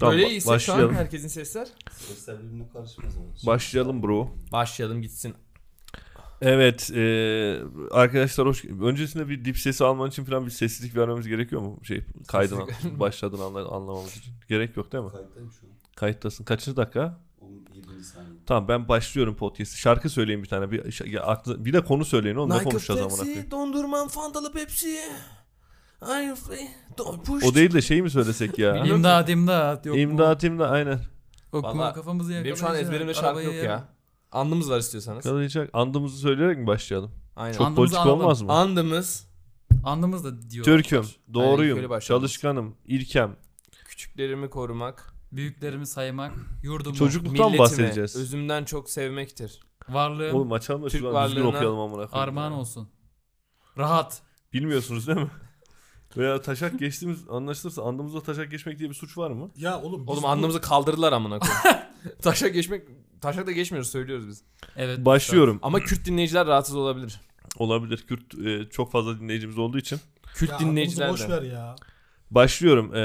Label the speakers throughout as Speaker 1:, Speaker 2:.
Speaker 1: Tamam,
Speaker 2: Böyle
Speaker 1: ba-
Speaker 2: iyiyse şu an
Speaker 1: başlayalım.
Speaker 2: herkesin sesler.
Speaker 3: Sesler birbirine karışmaz ama.
Speaker 1: Başlayalım bro.
Speaker 2: Başlayalım gitsin.
Speaker 1: Evet e, arkadaşlar hoş Öncesinde bir dip sesi alman için falan bir sessizlik vermemiz gerekiyor mu? Şey kaydın
Speaker 2: Sessizlik.
Speaker 1: başladığını anla- anlamamız için. Gerek yok değil mi?
Speaker 3: Kayıttayım şu an.
Speaker 1: Kayıttasın. Kaçıncı dakika?
Speaker 3: Onun 7. saniye.
Speaker 1: Tamam ben başlıyorum podcast'i. Şarkı söyleyin bir tane. Bir, şa- ya aklı- bir de konu söyleyin oğlum. Ne konuşacağız amına koyayım?
Speaker 2: dondurman, fantalı Pepsi. Hayır, don't push.
Speaker 1: O değil de şeyi mi söylesek ya?
Speaker 2: Bilmiyorum.
Speaker 4: İmdat imdat. Yok
Speaker 1: İmdat imdat aynen.
Speaker 4: Mu? Yok
Speaker 2: Vallahi
Speaker 4: mu? Kafamızı
Speaker 2: Benim
Speaker 4: yakalayacak.
Speaker 2: şu an ezberimde şarkı
Speaker 4: Arabayı
Speaker 2: yok ya.
Speaker 4: yer-
Speaker 2: Andımız var istiyorsanız.
Speaker 1: Kalacak. Andımızı söyleyerek mi başlayalım?
Speaker 2: Aynen.
Speaker 1: Çok
Speaker 4: Andımızı
Speaker 1: politik
Speaker 4: analım.
Speaker 1: olmaz mı?
Speaker 2: Andımız
Speaker 4: Andımız da diyor.
Speaker 1: Türküm,
Speaker 2: şöyle
Speaker 1: doğruyum,
Speaker 2: başlayalım.
Speaker 1: çalışkanım, ilkem.
Speaker 2: küçüklerimi korumak,
Speaker 4: Büyüklerimi saymak. Yurdumu.
Speaker 1: Çocukluktan
Speaker 2: milletimi
Speaker 1: bahsedeceğiz.
Speaker 2: özümden çok sevmektir.
Speaker 4: Varlığım.
Speaker 1: Oğlum açalım da
Speaker 2: Türk
Speaker 1: şuradan düzgün
Speaker 2: varlığına
Speaker 1: okuyalım amına koyayım.
Speaker 4: armağan olsun. Rahat.
Speaker 1: Bilmiyorsunuz değil mi? Veya taşak geçtiğimiz anlaşılırsa andımızda taşak geçmek diye bir suç var mı?
Speaker 3: Ya oğlum
Speaker 2: Oğlum andımızı kaldırdılar amına koyayım. Taşa geçmek Taşak da geçmiyoruz söylüyoruz biz.
Speaker 4: Evet.
Speaker 1: Başlıyorum.
Speaker 2: Ama Kürt dinleyiciler rahatsız olabilir.
Speaker 1: Olabilir Kürt e, çok fazla dinleyicimiz olduğu için.
Speaker 2: Kürt dinleyiciler de.
Speaker 3: ver ya.
Speaker 1: Başlıyorum. E,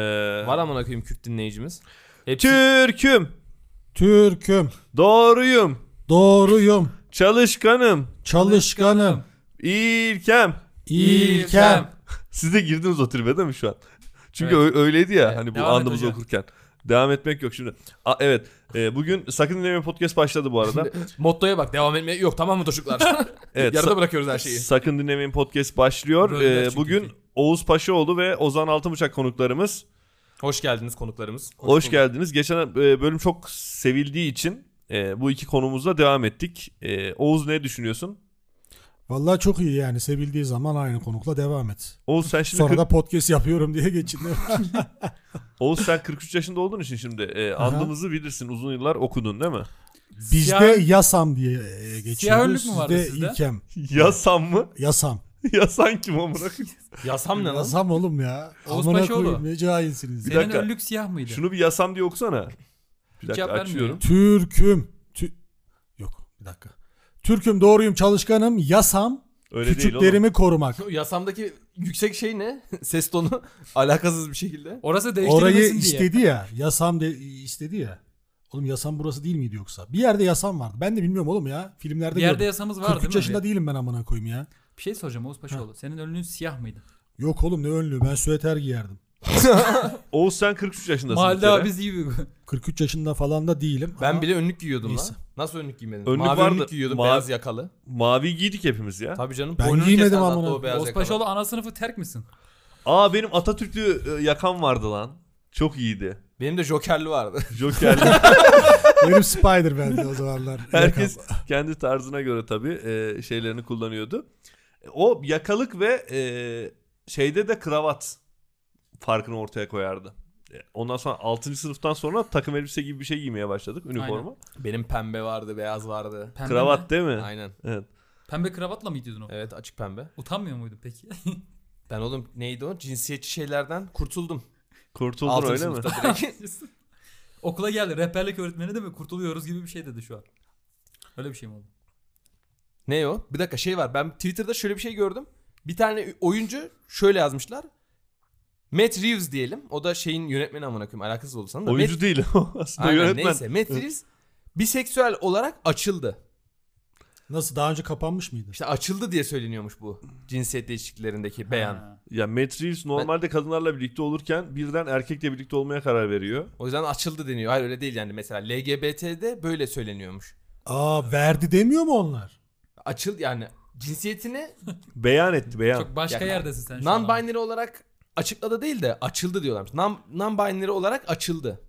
Speaker 2: Var amına koyayım Kürt dinleyicimiz. Hepsi
Speaker 1: Türküm,
Speaker 5: Türküm,
Speaker 1: doğruyum,
Speaker 5: doğruyum,
Speaker 1: çalışkanım,
Speaker 5: çalışkanım,
Speaker 1: ilkem.
Speaker 5: ilkem,
Speaker 1: Siz de girdiniz o tribe değil mi şu an? Çünkü
Speaker 2: Evet.
Speaker 1: ö- öyleydi ya
Speaker 2: Evet,
Speaker 1: hani bu
Speaker 4: devam et
Speaker 1: andımızı
Speaker 4: hocam.
Speaker 1: okurken. Devam etmek yok şimdi. A, evet e, bugün Sakın Dinleme Podcast başladı bu arada.
Speaker 2: mottoya bak devam etmeye yok tamam mı çocuklar?
Speaker 1: Evet,
Speaker 2: Yarıda
Speaker 1: sa-
Speaker 2: bırakıyoruz her şeyi.
Speaker 1: Sakın Dinlemeyin Podcast başlıyor.
Speaker 4: Bölümler
Speaker 1: E,
Speaker 4: çünkü
Speaker 1: bugün
Speaker 4: ki.
Speaker 1: Oğuz Paşaoğlu ve Ozan Altınbıçak konuklarımız.
Speaker 2: Hoş geldiniz konuklarımız.
Speaker 1: Hoş, geldiniz. Geçen e, bölüm çok sevildiği için e, bu iki konumuzla devam ettik. E, Oğuz ne düşünüyorsun?
Speaker 5: Vallahi çok iyi yani sevildiği zaman aynı konukla devam et.
Speaker 1: Oğuz sen şimdi
Speaker 5: Sonra
Speaker 1: kırk-
Speaker 5: da podcast yapıyorum diye geçin.
Speaker 1: Oğuz sen 43 yaşında olduğun için şimdi e,
Speaker 5: Aha.
Speaker 1: andımızı bilirsin. Uzun yıllar okudun değil mi?
Speaker 5: Bizde
Speaker 4: Siyah-
Speaker 5: yasam diye e, geçiyoruz.
Speaker 4: Siyahörlük mü vardı sizde?
Speaker 5: ilkem.
Speaker 1: Yasan mı?
Speaker 5: Yasam.
Speaker 1: Yasan kim amına koyayım?
Speaker 2: Yasam ne lan?
Speaker 5: Yasam oğlum ya.
Speaker 4: Oğuz
Speaker 5: Amına
Speaker 4: Paşaoğlu.
Speaker 5: koyayım, Ne cahilsiniz.
Speaker 1: Bir
Speaker 4: Senin
Speaker 1: dakika.
Speaker 4: önlük siyah mıydı?
Speaker 1: Şunu bir yasam diye okusana. Bir dakika
Speaker 4: Cevap vermiyor.
Speaker 1: açıyorum.
Speaker 5: Türküm. Tü- Yok bir dakika. Türküm, doğruyum, çalışkanım, yasam,
Speaker 1: Öyle değil oğlum.
Speaker 5: küçüklerimi korumak.
Speaker 2: O Yasamdaki yüksek şey ne? Ses tonu alakasız bir şekilde.
Speaker 4: Orası değiştirilmesin
Speaker 5: Orayı
Speaker 4: diye.
Speaker 5: istedi ya. Yasam de istedi ya. Oğlum yasam burası değil miydi yoksa? Bir yerde yasam vardı. Ben de bilmiyorum oğlum ya. Filmlerde
Speaker 4: Bir yerde
Speaker 5: gördüm.
Speaker 4: yasamız var
Speaker 5: 43
Speaker 4: değil mi?
Speaker 5: yaşında değilim ben amına koyayım ya.
Speaker 4: Bir şey soracağım Oğuz Paşaoğlu. Senin önlüğün siyah mıydı?
Speaker 5: Yok oğlum ne önlüğü ben süveter giyerdim.
Speaker 1: Oğuz sen 43 yaşındasın. bir
Speaker 4: Mahallede
Speaker 1: kere.
Speaker 4: abisi gibi.
Speaker 5: 43 yaşında falan da değilim.
Speaker 2: Ben
Speaker 5: ama
Speaker 2: bile önlük giyiyordum
Speaker 5: Neyse.
Speaker 2: lan. Nasıl önlük giymedin?
Speaker 1: Önlük
Speaker 2: Mavi
Speaker 1: vardı.
Speaker 2: önlük giyiyordum
Speaker 1: Ma-
Speaker 2: beyaz yakalı.
Speaker 1: Mavi giydik hepimiz ya.
Speaker 2: Tabii canım.
Speaker 5: Ben
Speaker 2: boynunu
Speaker 5: giymedim
Speaker 2: kesen hatta
Speaker 5: amına.
Speaker 2: o beyaz
Speaker 4: Oğuz
Speaker 2: yakalı.
Speaker 4: Paşaoğlu ana sınıfı terk misin?
Speaker 1: Aa benim Atatürklü e, yakam vardı lan. Çok iyiydi.
Speaker 2: Benim de jokerli vardı.
Speaker 1: Jokerli.
Speaker 5: benim spider bende o zamanlar.
Speaker 1: Herkes
Speaker 5: Yakam.
Speaker 1: kendi tarzına göre tabii e, şeylerini kullanıyordu. E, O yakalık ve e, şeyde de kravat farkını ortaya koyardı. E, Ondan sonra 6. sınıftan sonra takım elbise gibi bir şey giymeye başladık üniforma.
Speaker 2: Benim pembe vardı, beyaz vardı.
Speaker 4: Pembe mi?
Speaker 1: Kravat değil mi?
Speaker 2: Aynen.
Speaker 1: Evet.
Speaker 4: Pembe kravatla mı gidiyordun o?
Speaker 2: Evet açık pembe.
Speaker 4: Utanmıyor muydun peki?
Speaker 2: Ben oğlum neydi o? Cinsiyetçi şeylerden kurtuldum.
Speaker 1: Kurtuldun
Speaker 2: Altın
Speaker 1: öyle mi?
Speaker 2: sınıfta direkt.
Speaker 4: Okula geldi. Rehberlik öğretmeni de mi? Kurtuluyoruz gibi bir şey dedi şu an. Öyle bir şey mi oldu?
Speaker 2: ne o? Bir dakika şey var. Ben Twitter'da şöyle bir şey gördüm. Bir tane oyuncu şöyle yazmışlar. Matt Reeves diyelim. O da şeyin yönetmeni amına koyayım. Alakasız oldu sana da. Matt-
Speaker 1: Oyuncu değil o aslında
Speaker 2: Aynen,
Speaker 1: yönetmen.
Speaker 2: neyse. Matt Reeves biseksüel olarak açıldı.
Speaker 5: Nasıl daha önce kapanmış mıydı?
Speaker 2: İşte açıldı diye söyleniyormuş bu cinsiyet değişikliklerindeki beyan.
Speaker 4: Ha.
Speaker 1: Ya Matt Reeves normalde kadınlarla birlikte olurken birden erkekle birlikte olmaya karar veriyor.
Speaker 2: O yüzden açıldı deniyor. Hayır öyle değil yani. Mesela LGBT'de böyle söyleniyormuş.
Speaker 5: Aa verdi demiyor mu onlar?
Speaker 2: Açıl yani cinsiyetini
Speaker 1: Beyan etti beyan.
Speaker 4: Çok başka
Speaker 2: Yani-
Speaker 4: yerdesin sen şu an. ama.
Speaker 2: non-binary olarak açıkladı değil de açıldı diyorlarmış. Non- Non-binary olarak açıldı.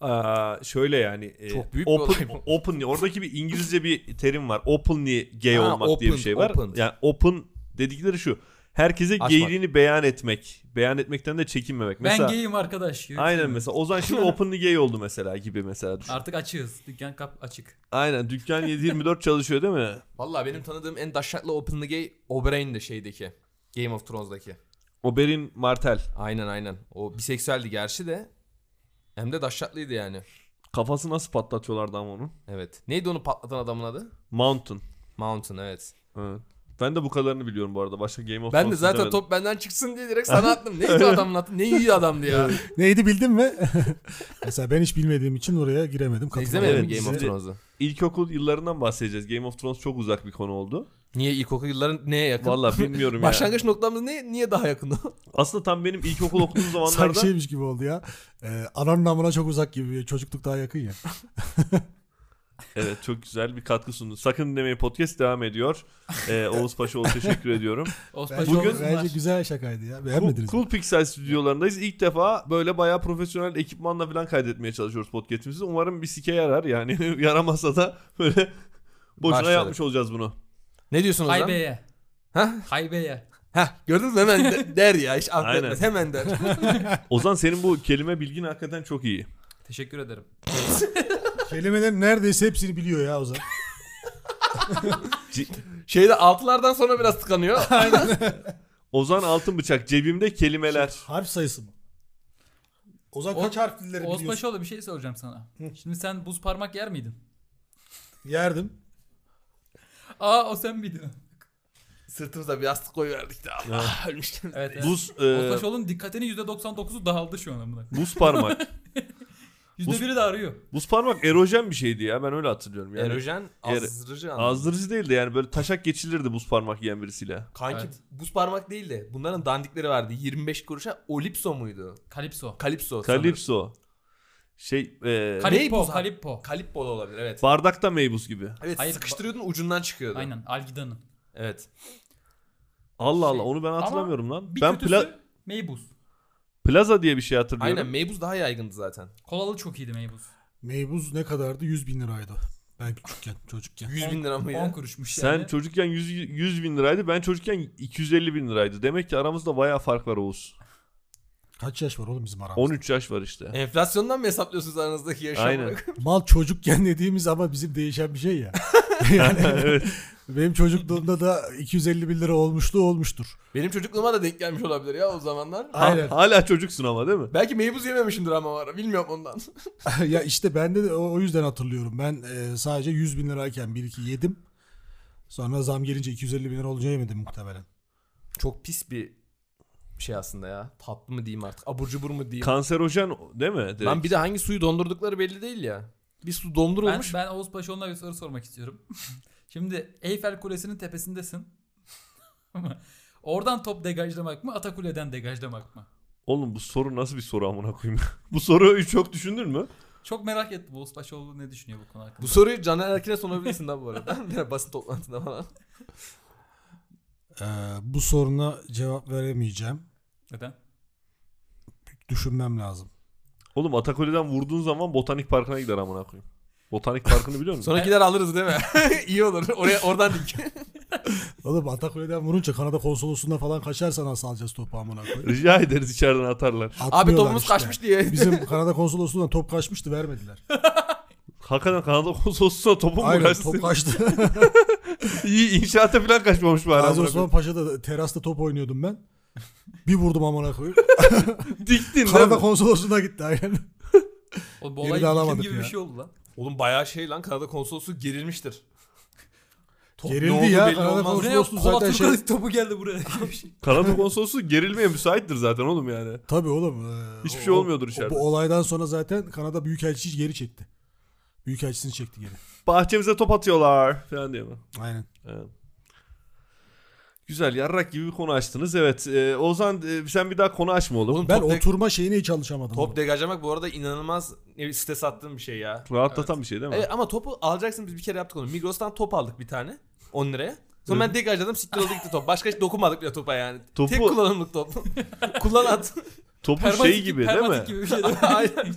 Speaker 1: Aa, şöyle yani e,
Speaker 2: Çok büyük bir
Speaker 1: open,
Speaker 2: olay bu.
Speaker 1: openly oradaki bir İngilizce bir terim var. Openly gay
Speaker 2: Ha,
Speaker 1: olmak diye bir
Speaker 2: open,
Speaker 1: şey var.
Speaker 2: open.
Speaker 1: Yani open dedikleri şu. Herkese
Speaker 2: Açmak.
Speaker 1: gayliğini beyan etmek. Beyan etmekten de çekinmemek. Mesela
Speaker 4: ben gayim arkadaş. Yürü.
Speaker 1: aynen mesela Ozan şimdi openly gay oldu mesela gibi mesela düşün.
Speaker 4: Artık açığız. Dükkan kap açık.
Speaker 1: Aynen dükkan 7/24 çalışıyor değil mi?
Speaker 2: Vallahi benim tanıdığım en daşaklı openly gay Oberyn de şeydeki. Game of Thrones'daki.
Speaker 1: Oberin Martel
Speaker 2: Aynen aynen. O biseksüeldi gerçi de. Hem de daşaklıydı yani.
Speaker 1: kafası nasıl patlatıyorlardı ama onun?
Speaker 2: Evet. Neydi onu patlatan adamın adı?
Speaker 1: Mountain.
Speaker 2: Mountain evet.
Speaker 1: Evet. Ben de bu kadarını biliyorum bu arada. Başka Game of
Speaker 2: Ben de
Speaker 1: Thrones
Speaker 2: zaten
Speaker 1: izlemedim.
Speaker 2: top benden çıksın diye direkt sana attım. Ne iyi adamın attım. Ne iyi adamdı ya.
Speaker 5: Neydi bildin mi? Mesela ben hiç bilmediğim için oraya giremedim. katılamadım.
Speaker 2: İzlemedin mi
Speaker 1: Evet,
Speaker 2: Game of
Speaker 1: sizi-
Speaker 2: Thrones'u?
Speaker 1: İlkokul yıllarından bahsedeceğiz. Game of Thrones çok uzak bir konu oldu.
Speaker 2: Niye ilkokul yılların neye yakın?
Speaker 1: Vallahi bilmiyorum ya.
Speaker 2: Başlangıç noktamız ne? Niye daha yakın?
Speaker 1: Aslında tam benim ilkokul okuduğum zamanlarda
Speaker 5: Sanki şey- şeymiş gibi oldu ya. Ee, ananın amına çok uzak gibi. Çocukluk daha yakın ya.
Speaker 1: evet çok güzel bir katkı sundu. Sakın dinlemeyi podcast devam ediyor. Ee, Oğuz Paşaoğlu teşekkür ediyorum.
Speaker 4: Osman
Speaker 5: Bence,
Speaker 1: Bugün-
Speaker 4: Bugün...
Speaker 5: bence güzel şakaydı ya.
Speaker 1: Cool,
Speaker 5: Beğenmediniz mi?
Speaker 1: cool Pixel stüdyolarındayız. İlk defa böyle bayağı profesyonel ekipmanla falan kaydetmeye çalışıyoruz podcast'imizi. Umarım bir sike yarar yani yaramasa da böyle boşuna
Speaker 2: Başladık.
Speaker 1: yapmış olacağız bunu.
Speaker 2: ne diyorsun o zaman?
Speaker 4: Haybe'ye.
Speaker 2: Hah?
Speaker 4: Haybe'ye.
Speaker 2: Hah gördünüz mü hemen de- der ya hiç aklı
Speaker 1: Aynen.
Speaker 2: etmez. hemen der.
Speaker 1: Ozan senin bu kelime bilgin hakikaten çok iyi.
Speaker 4: Teşekkür ederim.
Speaker 5: Kelimelerin neredeyse hepsini biliyor ya Ozan.
Speaker 2: Şeyde altılardan sonra biraz tıkanıyor.
Speaker 1: Ozan altın bıçak cebimde kelimeler.
Speaker 5: Harf sayısı mı? Ozan
Speaker 4: O-
Speaker 5: kaç harf dilleri
Speaker 4: Oğuz
Speaker 5: biliyorsun?
Speaker 4: Paşaoğlu bir şey soracağım sana. Şimdi sen buz parmak yer miydin?
Speaker 5: Yerdim.
Speaker 4: Aa o sen miydin?
Speaker 2: Sırtımıza bir yastık koyuverdik de Ah, Allah ölmüştüm.
Speaker 4: Evet. evet.
Speaker 1: Buz e,
Speaker 4: Şey, Oğuz Paşaoğlu'nun dikkatinin %99'u dağıldı şu an amına.
Speaker 1: buz parmak.
Speaker 4: %1'i de arıyor.
Speaker 1: Buz parmak erojen bir şeydi ya ben öyle hatırlıyorum. Yani er-
Speaker 2: Erojen
Speaker 1: Yer-
Speaker 2: azdırıcı anlamı.
Speaker 1: Azdırıcı değildi yani böyle taşak geçilirdi buz parmak yiyen birisiyle.
Speaker 2: Kanki
Speaker 4: Evet.
Speaker 2: buz parmak değil de bunların dandikleri vardı. 25 kuruşa Olipso muydu?
Speaker 4: Kalipso.
Speaker 2: Kalipso. sanırım.
Speaker 1: Kalipso. Şey e,
Speaker 2: Kal- Ney buz
Speaker 4: Kalippo.
Speaker 2: abi?
Speaker 4: Kalippo.
Speaker 2: Kalippo da olabilir evet.
Speaker 1: bardakta meybuz gibi.
Speaker 2: Evet
Speaker 4: Hayır,
Speaker 2: sıkıştırıyordun ucundan çıkıyordu.
Speaker 4: Aynen Algida'nın.
Speaker 2: Evet.
Speaker 1: Allah
Speaker 4: Şey,
Speaker 1: Allah onu ben hatırlamıyorum lan.
Speaker 4: Bir
Speaker 1: Ben
Speaker 4: kötüsü
Speaker 1: pla-
Speaker 4: meybuz.
Speaker 1: plaza diye bir şey hatırlıyorum.
Speaker 2: Aynen meybuz daha yaygındı zaten.
Speaker 4: Kolalı çok iyiydi meybuz.
Speaker 5: Meybuz ne kadardı? 100 bin liraydı. Ben küçükken, çocukken.
Speaker 2: 100 bin lira mı
Speaker 4: 10
Speaker 2: ya?
Speaker 4: kuruşmuş
Speaker 1: Sen
Speaker 4: şey yani.
Speaker 1: çocukken 100, 100 bin liraydı. Ben çocukken 250 bin liraydı. Demek ki aramızda bayağı fark var Oğuz.
Speaker 5: Kaç yaş var oğlum bizim aramızda?
Speaker 1: 13 yaş var işte.
Speaker 2: Enflasyondan mı hesaplıyorsunuz aranızdaki yaşamı?
Speaker 1: Aynen.
Speaker 5: Mal çocukken dediğimiz ama bizim değişen bir şey ya. yani
Speaker 1: evet.
Speaker 5: benim çocukluğumda da 250 bin lira olmuştu olmuştur.
Speaker 2: Benim çocukluğuma da denk gelmiş olabilir ya o zamanlar.
Speaker 1: Ha-
Speaker 5: Aynen.
Speaker 1: hala çocuksun ama değil mi?
Speaker 2: Belki meybuz yememişimdir ama var. Bilmiyorum ondan.
Speaker 5: ya işte ben de o, o yüzden hatırlıyorum. Ben e, sadece 100 bin lirayken bir iki yedim. Sonra zam gelince 250 bin lira olunca yemedim muhtemelen.
Speaker 2: Çok pis bir şey aslında ya. Tatlı mı diyeyim artık. Abur cubur mu diyeyim.
Speaker 1: Kanserojen değil mi? Direkt.
Speaker 2: Lan bir de hangi suyu dondurdukları belli değil ya. Bir su
Speaker 4: Ben,
Speaker 2: dondurulmuş.
Speaker 4: ben Oğuz Paşaoğlu'na bir soru sormak istiyorum. Şimdi Eyfel Kulesi'nin tepesindesin. Ama Oradan top degajlamak mı, Atakule'den degajlamak mı?
Speaker 1: Oğlum bu soru nasıl bir soru amına koyayım? bu soruyu çok düşündün mü?
Speaker 4: Çok merak ettim Oğuz Paşaoğlu ne düşünüyor bu konu hakkında.
Speaker 2: Bu soruyu Caner Erkin'e sorabilirsin lan bu arada. Bir basın toplantısında falan.
Speaker 5: Ee, bu soruna cevap veremeyeceğim.
Speaker 4: Neden?
Speaker 5: Düşünmem lazım.
Speaker 1: Oğlum Atakule'den vurduğun zaman botanik parkına gider amına koyayım. Botanik parkını biliyor musun?
Speaker 2: Sonra gider alırız değil mi? İyi olur. Oraya oradan dik.
Speaker 5: Oğlum Atakule'den vurunca Kanada konsolosluğuna falan kaçarsan nasıl alacağız topu amına koyayım?
Speaker 1: Rica ederiz içeriden atarlar.
Speaker 2: Abi
Speaker 5: Atmıyorlar
Speaker 2: topumuz
Speaker 5: işte.
Speaker 2: kaçmış diye.
Speaker 5: Bizim Kanada konsolosluğundan top kaçmıştı vermediler.
Speaker 1: Hakikaten Kanada konsolosluğuna topun mu
Speaker 5: Aynen
Speaker 1: kaçtı?
Speaker 5: top kaçtı.
Speaker 1: İyi inşaata falan kaçmamış bari.
Speaker 5: Gazi
Speaker 1: amına
Speaker 5: Osman
Speaker 1: koyayım.
Speaker 5: Paşa'da terasta top oynuyordum ben. Bir vurdum amına koyayım.
Speaker 1: Diktin değil
Speaker 5: Kanada
Speaker 1: mi?
Speaker 5: konsolosluğuna gitti aynen.
Speaker 4: O bu
Speaker 5: Geri
Speaker 4: olay
Speaker 5: de
Speaker 4: yıkım
Speaker 5: alamadık
Speaker 4: gibi
Speaker 5: ya.
Speaker 4: bir şey oldu lan.
Speaker 2: Oğlum bayağı şey lan Kanada konsolosu gerilmiştir. Top ne
Speaker 5: Gerildi
Speaker 2: oldu
Speaker 5: ya
Speaker 2: belli
Speaker 5: Kanada
Speaker 2: olmaz.
Speaker 4: Buraya
Speaker 5: konsolosluğu
Speaker 4: kola
Speaker 5: zaten şey.
Speaker 4: Türk topu geldi buraya gibi bir şey.
Speaker 1: Kanada konsolosluğu gerilmeye müsaittir zaten oğlum yani.
Speaker 5: Tabii oğlum. ee,
Speaker 1: Hiçbir
Speaker 5: o-
Speaker 1: şey olmuyordur
Speaker 5: o-
Speaker 1: içeride.
Speaker 5: Bu olaydan sonra zaten Kanada Büyükelçisi geri çekti. Büyükelçisini çekti geri.
Speaker 1: Bahçemize top atıyorlar falan diye mi?
Speaker 5: Aynen.
Speaker 1: Evet. Güzel yarrak gibi bir konu açtınız. Evet e, Ozan e, sen bir daha konu açma oğlum.
Speaker 2: Oğlum
Speaker 5: Ben
Speaker 2: top, de-
Speaker 5: oturma şeyine hiç alışamadım.
Speaker 2: top degajlamak bu arada inanılmaz e, stres attığım bir şey ya.
Speaker 1: Rahatlatan bir şey değil mi?
Speaker 2: Evet ama topu alacaksın biz bir kere yaptık onu. Migros'tan top aldık bir tane 10 liraya. Sonra ben degajladım siktir oldu gitti top. Başka hiç dokunmadık bile topa yani.
Speaker 1: Topu-
Speaker 2: Tek kullanımlık top. Kullan at.
Speaker 1: Topu
Speaker 4: Permatik
Speaker 1: şey gibi değil mi?
Speaker 4: permatik gibi bir şey değil mi?
Speaker 2: Aynen.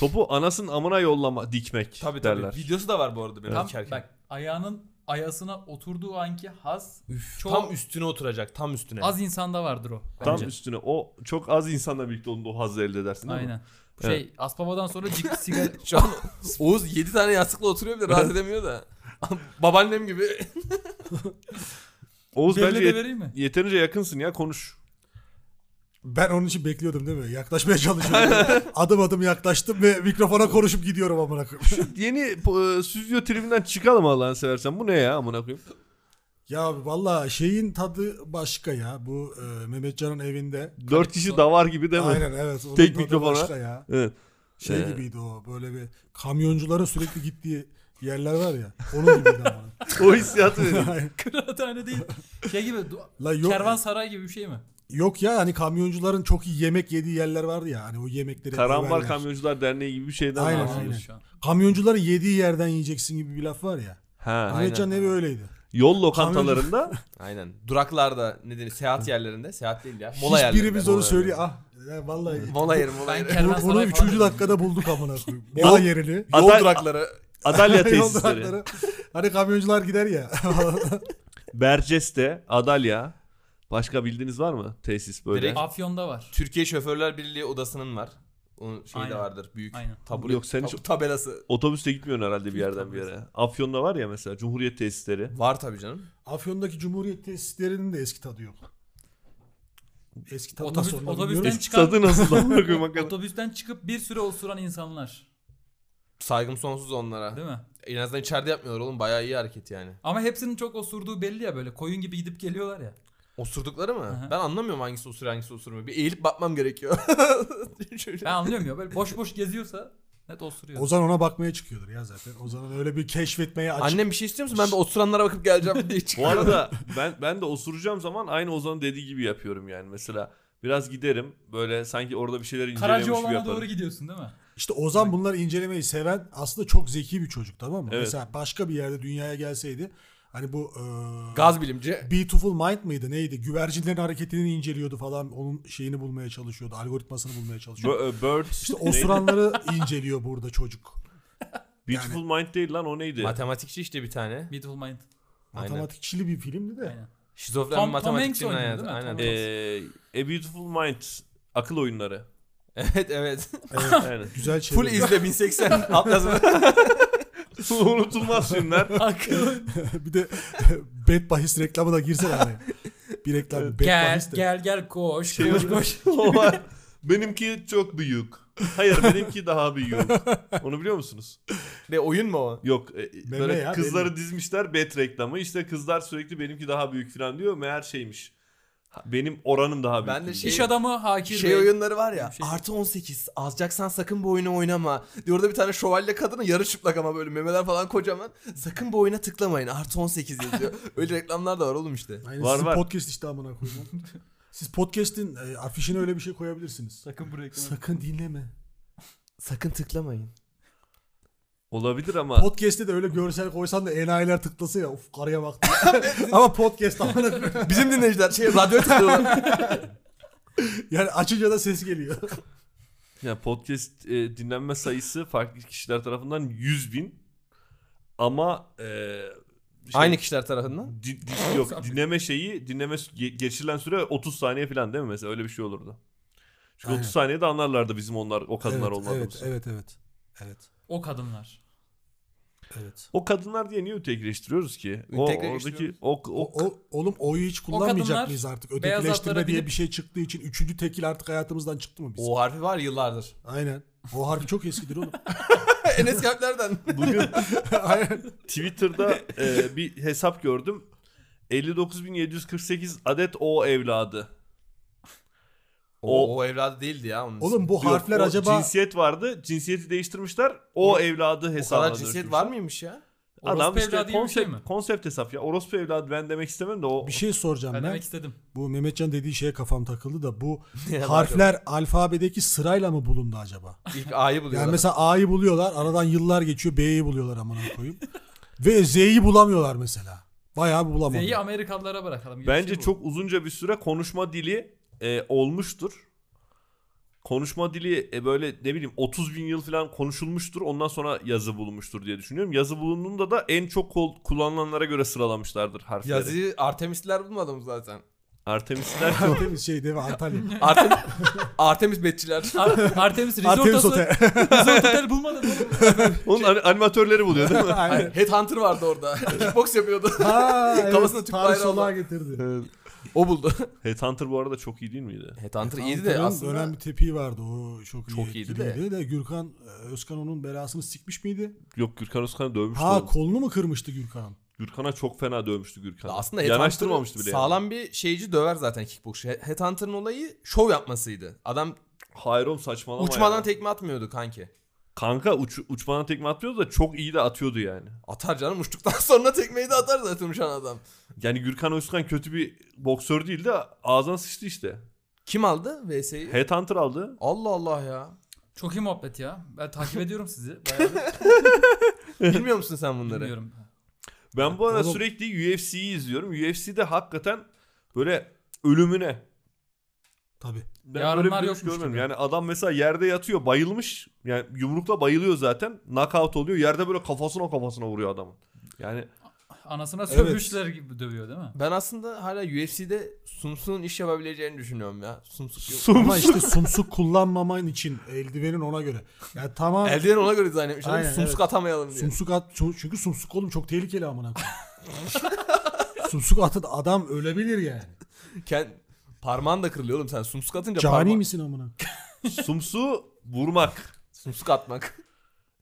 Speaker 1: Topu anasının amına yollama dikmek
Speaker 2: Tabii tabii.
Speaker 1: derler.
Speaker 2: Videosu da var bu arada benim
Speaker 4: Tam
Speaker 2: dikerken.
Speaker 4: bak ayağının ayasına oturduğu anki haz çok
Speaker 2: Tam üstüne oturacak tam üstüne.
Speaker 4: az insanda vardır o.
Speaker 1: Tam
Speaker 2: Bence.
Speaker 1: üstüne o çok az insanla birlikte onda o hazzı elde edersin değil mi?
Speaker 4: Aynen. Şey Aspava'dan sonra cik sigara
Speaker 2: Şu an Oğuz 7 tane yastıkla oturuyor bile rahat edemiyor da. Babaannem gibi.
Speaker 1: Oğuz
Speaker 4: Devlete
Speaker 1: bence yet-
Speaker 4: vereyim mi?
Speaker 1: yeterince yakınsın ya konuş.
Speaker 5: Ben onun için bekliyordum değil mi? Yaklaşmaya çalışıyordum. adım adım yaklaştım ve mikrofona konuşup gidiyorum amına koyayım.
Speaker 1: Yeni e, stüdyo tribünden çıkalım Allah'ını seversen. Bu ne ya amına koyayım?
Speaker 5: Ya valla şeyin tadı başka ya. Bu e, Mehmet Can'ın evinde.
Speaker 1: Dört kişi davar gibi değil mi?
Speaker 5: Aynen evet. onun
Speaker 1: Tek
Speaker 5: tadı
Speaker 1: mikrofona.
Speaker 5: Başka ya.
Speaker 1: Evet.
Speaker 5: Şey
Speaker 1: Ee.
Speaker 5: gibiydi o böyle bir kamyonculara sürekli gittiği yerler var ya. Onun gibiydi ama.
Speaker 1: O hissiyatı veriyor.
Speaker 5: Aynen.
Speaker 4: Kıraathane değil. Şey gibi du-
Speaker 5: La yok,
Speaker 4: kervansaray gibi bir şey mi?
Speaker 5: yok ya hani kamyoncuların çok iyi yemek yediği yerler vardı ya. Hani o yemekleri.
Speaker 1: Karambar
Speaker 5: överler.
Speaker 1: Kamyoncular Derneği gibi bir şeyden
Speaker 5: Aynen,
Speaker 1: bahsediyoruz.
Speaker 5: aynen.
Speaker 4: Şu an.
Speaker 5: Kamyoncuların yediği yerden yiyeceksin gibi bir laf var ya.
Speaker 1: Ha.
Speaker 5: Mehmet Can'ın
Speaker 2: aynen.
Speaker 5: evi öyleydi.
Speaker 1: Yol lokantalarında
Speaker 2: Aynen. Duraklarda ne denir? Seyahat yerlerinde. Seyahat değil ya. Mola yerlerinde.
Speaker 5: Hiçbirimiz onu söylüyor. Ah ya vallahi.
Speaker 2: Mola yeri mola
Speaker 4: Ben
Speaker 2: yeri.
Speaker 5: Bunu,
Speaker 4: kervansaray
Speaker 5: bunu
Speaker 4: falan
Speaker 5: üçüncü
Speaker 4: dedim.
Speaker 5: dakikada bulduk amına koyayım. Mola
Speaker 1: Yol-
Speaker 5: yerini.
Speaker 2: Yol
Speaker 1: Aday-
Speaker 2: durakları.
Speaker 1: Adalya
Speaker 5: Yol
Speaker 1: tesisleri.
Speaker 5: durakları. Hani kamyoncular gider ya.
Speaker 1: Berceste, Adalya. Başka bildiğiniz var mı tesis böyle?
Speaker 2: Direkt-
Speaker 4: Afyon'da var.
Speaker 2: Türkiye Şoförler Birliği odasının var. Onun şeyi de
Speaker 4: Aynen.
Speaker 2: vardır. Büyük.
Speaker 4: Aynen.
Speaker 2: Tabure,
Speaker 1: Yok, sen hiç-
Speaker 2: tabelası.
Speaker 1: Otobüste gitmiyorsun herhalde bir yerden bir yere. Afyon'da var ya mesela Cumhuriyet tesisleri.
Speaker 2: Var tabii canım.
Speaker 5: Afyon'daki Cumhuriyet tesislerinin de eski tadı yok. Eski tadı
Speaker 4: Otobüs,
Speaker 5: nasıl onu
Speaker 4: otobüsten
Speaker 5: bilmiyorum.
Speaker 4: çıkan
Speaker 1: Tadı nasıl lan? Bakıyorum hakikaten.
Speaker 4: otobüsten çıkıp bir süre osuran insanlar.
Speaker 2: Saygım sonsuz onlara.
Speaker 4: Değil mi?
Speaker 2: En azından içeride yapmıyorlar oğlum. Bayağı iyi hareket yani.
Speaker 4: Ama hepsinin çok osurduğu belli ya böyle. Koyun gibi gidip geliyorlar ya.
Speaker 2: Osurdukları mı?
Speaker 4: Aha.
Speaker 2: Ben anlamıyorum hangisi osuruyor hangisi osurmuyor. Bir eğilip bakmam gerekiyor. Şöyle.
Speaker 4: Ben anlıyorum ya böyle boş boş geziyorsa net osuruyor.
Speaker 5: Ozan ona bakmaya çıkıyordur ya zaten. Ozan'ın öyle bir keşfetmeye açık.
Speaker 2: Annem bir şey istiyor musun? Ben bir osuranlara bakıp geleceğim diye
Speaker 1: Bu
Speaker 2: çıkıyor.
Speaker 1: arada ben ben de osuracağım zaman aynı Ozan'ın dediği gibi yapıyorum yani. Mesela biraz giderim böyle sanki orada bir şeyler inceliyormuş gibi
Speaker 4: Karacaoğlan'a
Speaker 1: yaparım.
Speaker 4: doğru gidiyorsun değil mi?
Speaker 5: İşte Ozan bunları incelemeyi seven aslında çok zeki bir çocuk tamam mı?
Speaker 1: Evet.
Speaker 5: Mesela başka bir yerde dünyaya gelseydi hani bu eee,
Speaker 2: Gaz bilimci.
Speaker 5: Beautiful Mind mıydı neydi? Güvercinlerin hareketini inceliyordu falan. Onun şeyini bulmaya çalışıyordu. Algoritmasını bulmaya çalışıyordu.
Speaker 1: Bö- e, Bird.
Speaker 5: İşte
Speaker 1: neydi?
Speaker 5: osuranları inceliyor burada çocuk.
Speaker 1: Beautiful Mind değil lan o neydi?
Speaker 2: Matematikçi işte bir tane.
Speaker 4: Beautiful Mind.
Speaker 2: Aynen.
Speaker 5: Matematikçili bir filmdi de.
Speaker 4: Aynen.
Speaker 2: Şizofren
Speaker 4: Tom-
Speaker 2: bir
Speaker 4: Tom Hanks
Speaker 2: matematikçinin
Speaker 4: oynuyor
Speaker 2: hayatı.
Speaker 4: değil mi?
Speaker 2: Aynen.
Speaker 4: Tom Hanks.
Speaker 1: Ee, A Beautiful Mind akıl oyunları.
Speaker 2: evet evet.
Speaker 1: Yani.
Speaker 5: Güzel şey.
Speaker 2: Full izle 1080 atlasını.
Speaker 1: Unutulmaz filmler.
Speaker 4: Akıl.
Speaker 5: bir de bet bahis reklamı da girsene araya. Bir reklam bet
Speaker 4: gel
Speaker 5: bahis de.
Speaker 4: gel gel koş koş koş.
Speaker 1: O var. benimki çok büyük. Hayır benimki daha büyük. Onu biliyor musunuz?
Speaker 2: ne oyun mu o?
Speaker 1: Yok. e,
Speaker 5: Meme
Speaker 1: böyle
Speaker 5: ya,
Speaker 1: kızları dizmişler bet reklamı. İşte kızlar sürekli benimki daha büyük falan diyor. Meğer şeymiş. Ha, Benim oranım daha büyük.
Speaker 2: Ben de
Speaker 1: demiş.
Speaker 2: şey-
Speaker 4: İş adamı Hakir
Speaker 2: Şey
Speaker 4: Bey.
Speaker 2: oyunları var ya.
Speaker 4: Bir şey-
Speaker 2: artı 18. Azacaksan sakın bu oyunu oynama. Diyor orada bir tane şövalye kadını yarı çıplak ama böyle memeler falan kocaman. Sakın bu oyuna tıklamayın. Artı 18 yazıyor. Öyle reklamlar da var oğlum işte.
Speaker 5: Aynen,
Speaker 1: Var,
Speaker 5: sizin
Speaker 1: var.
Speaker 5: podcast işte amına koyayım. Siz podcast'in e, afişine öyle bir şey koyabilirsiniz.
Speaker 4: Sakın buraya
Speaker 5: Sakın dinleme.
Speaker 2: Sakın tıklamayın.
Speaker 1: Olabilir ama.
Speaker 5: Podcast'te de öyle görsel koysan da enayiler tıklasa ya. Of karıya baktım. Ama podcast amına koyayım.
Speaker 2: Bizim dinleyiciler şey radyo tıklıyorlar.
Speaker 5: Yani açınca da ses geliyor.
Speaker 1: Ya podcast e, dinlenme sayısı farklı kişiler tarafından 100 bin ama e, şey-
Speaker 2: Aynı kişiler tarafından.
Speaker 1: Di- di- yok dinleme şeyi dinleme sü- ge- geçirilen süre 30 saniye falan değil mi mesela öyle bir şey olurdu. Çünkü
Speaker 5: Aynen.
Speaker 1: 30 saniyede anlarlardı bizim onlar o kadınlar
Speaker 5: evet,
Speaker 1: olmadığımızı.
Speaker 5: evet, evet, evet. Evet.
Speaker 4: O kadınlar.
Speaker 5: Evet.
Speaker 1: O kadınlar diye niye ötekileştiriyoruz ki? O oradaki
Speaker 2: Ötekileştiriyoruz.
Speaker 1: o, o,
Speaker 5: O, o, oğlum o'yu hiç kullanmayacak
Speaker 4: kadınlar
Speaker 5: mıyız artık?
Speaker 4: beyaz
Speaker 5: Ötekileştirme
Speaker 4: atlara
Speaker 5: diye
Speaker 4: binip-
Speaker 5: bir şey çıktığı için üçüncü tekil artık hayatımızdan çıktı mı biz?
Speaker 2: O harfi var yıllardır.
Speaker 5: Aynen. O harfi çok eskidir oğlum.
Speaker 2: Enes Kalpler'den.
Speaker 1: bugün
Speaker 5: Aynen.
Speaker 1: Twitter'da e, bir hesap gördüm. 59.748 adet o evladı.
Speaker 2: O, o evladı değildi ya. Onun
Speaker 5: Oğlum bu
Speaker 1: Yok,
Speaker 5: harfler
Speaker 1: o
Speaker 5: acaba
Speaker 1: cinsiyet vardı. Cinsiyeti değiştirmişler. O,
Speaker 2: O-
Speaker 1: evladı
Speaker 2: o
Speaker 1: hesabına.
Speaker 2: kadar cinsiyet var mıymış ya?
Speaker 1: Adam
Speaker 4: Orospu
Speaker 1: işte
Speaker 4: evladı gibi bir
Speaker 1: konsept,
Speaker 4: şey mi?
Speaker 1: konsept hesap ya. Orospu evladı ben demek istemem de o
Speaker 5: bir şey soracağım
Speaker 4: Ben
Speaker 5: ben.
Speaker 4: demek istedim.
Speaker 5: Bu Mehmetcan dediği şeye kafam takıldı da bu
Speaker 2: Ne yalan
Speaker 5: harfler alfabedeki sırayla mı bulundu acaba?
Speaker 2: İlk A'yı
Speaker 5: Yani
Speaker 2: buluyorlar.
Speaker 5: mesela A'yı buluyorlar, aradan yıllar geçiyor, B'yi buluyorlar amına koyayım. Ve Z'yi bulamıyorlar mesela. Bayağı bir bulamadılar.
Speaker 4: Z'yi Amerikalılara bırakalım. gibi bir
Speaker 1: Bence
Speaker 4: şey bu.
Speaker 1: çok uzunca bir süre konuşma dili e, olmuştur. Konuşma dili e, böyle ne bileyim 30 bin yıl falan konuşulmuştur. Ondan sonra yazı bulunmuştur diye düşünüyorum. Yazı bulunduğunda da en çok kol- kullanılanlara göre sıralamışlardır harfleri.
Speaker 2: Yazıyı Artemisler bulmadım zaten.
Speaker 1: Artemisler
Speaker 5: Artemis şey değil mi? Antalya.
Speaker 2: Artemis, Artemis betçiler.
Speaker 4: Ar- Artemis Resort
Speaker 5: Artemis
Speaker 4: Hotel.
Speaker 5: Otel.
Speaker 4: Resort Hotel bulmadın oğlum.
Speaker 1: onun ani- animatörleri buluyor değil mi?
Speaker 5: Aynen.
Speaker 2: Headhunter vardı orada. Kickbox yapıyordu.
Speaker 5: Ha, evet,
Speaker 2: Kafasına Türk
Speaker 5: Paris
Speaker 2: bayrağı
Speaker 5: olağa
Speaker 2: var.
Speaker 5: getirdi.
Speaker 2: o buldu.
Speaker 1: Headhunter bu arada çok iyi değil miydi?
Speaker 2: Headhunter iyiydi de
Speaker 5: Ankara'nın
Speaker 2: aslında.
Speaker 5: önemli tepiği vardı. O çok,
Speaker 2: Çok
Speaker 5: iyi
Speaker 2: iyiydi de.
Speaker 5: etkiliydi de. Gürkan e, Özkan onun belasını sikmiş miydi?
Speaker 1: Yok Gürkan Özkan'ı dövmüştü.
Speaker 5: Ha
Speaker 1: oğlum.
Speaker 5: kolunu mu kırmıştı Gürkan?
Speaker 1: Gürkan'a çok fena dövmüştü Gürkan.
Speaker 2: Aslında
Speaker 1: Yanaştırmamıştı
Speaker 2: Headhunter'ı
Speaker 1: bile. yani.
Speaker 2: Sağlam bir şeyci döver zaten kickboxçu. He- Headhunter'ın olayı şov yapmasıydı. Adam
Speaker 1: Hayır oğlum saçmalama
Speaker 2: uçmadan
Speaker 1: ya.
Speaker 2: tekme atmıyordu kanki.
Speaker 1: Kanka uç, uçmadan tekme atıyordu da çok iyi de atıyordu yani.
Speaker 2: Atar canım uçtuktan sonra tekmeyi de atar zaten uçan adam.
Speaker 1: Yani Gürkan Özkan kötü bir boksör değildi. Ağzına sıçtı işte.
Speaker 2: Kim aldı VS'yi?
Speaker 1: Headhunter aldı.
Speaker 2: Allah Allah ya.
Speaker 4: Çok iyi muhabbet ya. Ben takip ediyorum sizi. Bayağı
Speaker 2: Bilmiyor musun sen
Speaker 4: da
Speaker 2: bunları?
Speaker 4: dinliyorum.
Speaker 1: Ben bu arada
Speaker 5: Oğlum-
Speaker 1: sürekli UFC'yi izliyorum. UFC'de hakikaten böyle ölümüne.
Speaker 5: Tabii.
Speaker 1: Ben
Speaker 4: Yarınlar
Speaker 1: böyle bir dövüş
Speaker 4: yokmuş
Speaker 1: görmedim.
Speaker 4: gibi.
Speaker 1: Yani adam mesela yerde yatıyor bayılmış. Yani yumrukla bayılıyor zaten. Knockout oluyor. Yerde böyle kafasına kafasına vuruyor adamın. Yani
Speaker 4: Anasına
Speaker 5: Evet.
Speaker 4: sövmüşler gibi dövüyor değil mi?
Speaker 2: Ben aslında hala UFC'de Sumsu'nun iş yapabileceğini düşünüyorum ya. Sumsu yok.
Speaker 5: Ama işte sumsuk kullanmaman için eldivenin ona göre. Yani tamam.
Speaker 2: Eldiven ona göre dizayn etmişler.
Speaker 5: Aynen,
Speaker 2: Sumsuk atamayalım diye.
Speaker 5: Sumsuk at ço- çünkü sumsuk oğlum çok tehlikeli amına koyayım. sumsuk atın adam ölebilir yani.
Speaker 2: Kend- parmağın da kırılıyor oğlum sen. Sumsuk atınca
Speaker 5: Cani
Speaker 2: parma-
Speaker 5: misin amına?
Speaker 1: sumsu vurmak.
Speaker 2: Sumsuk atmak.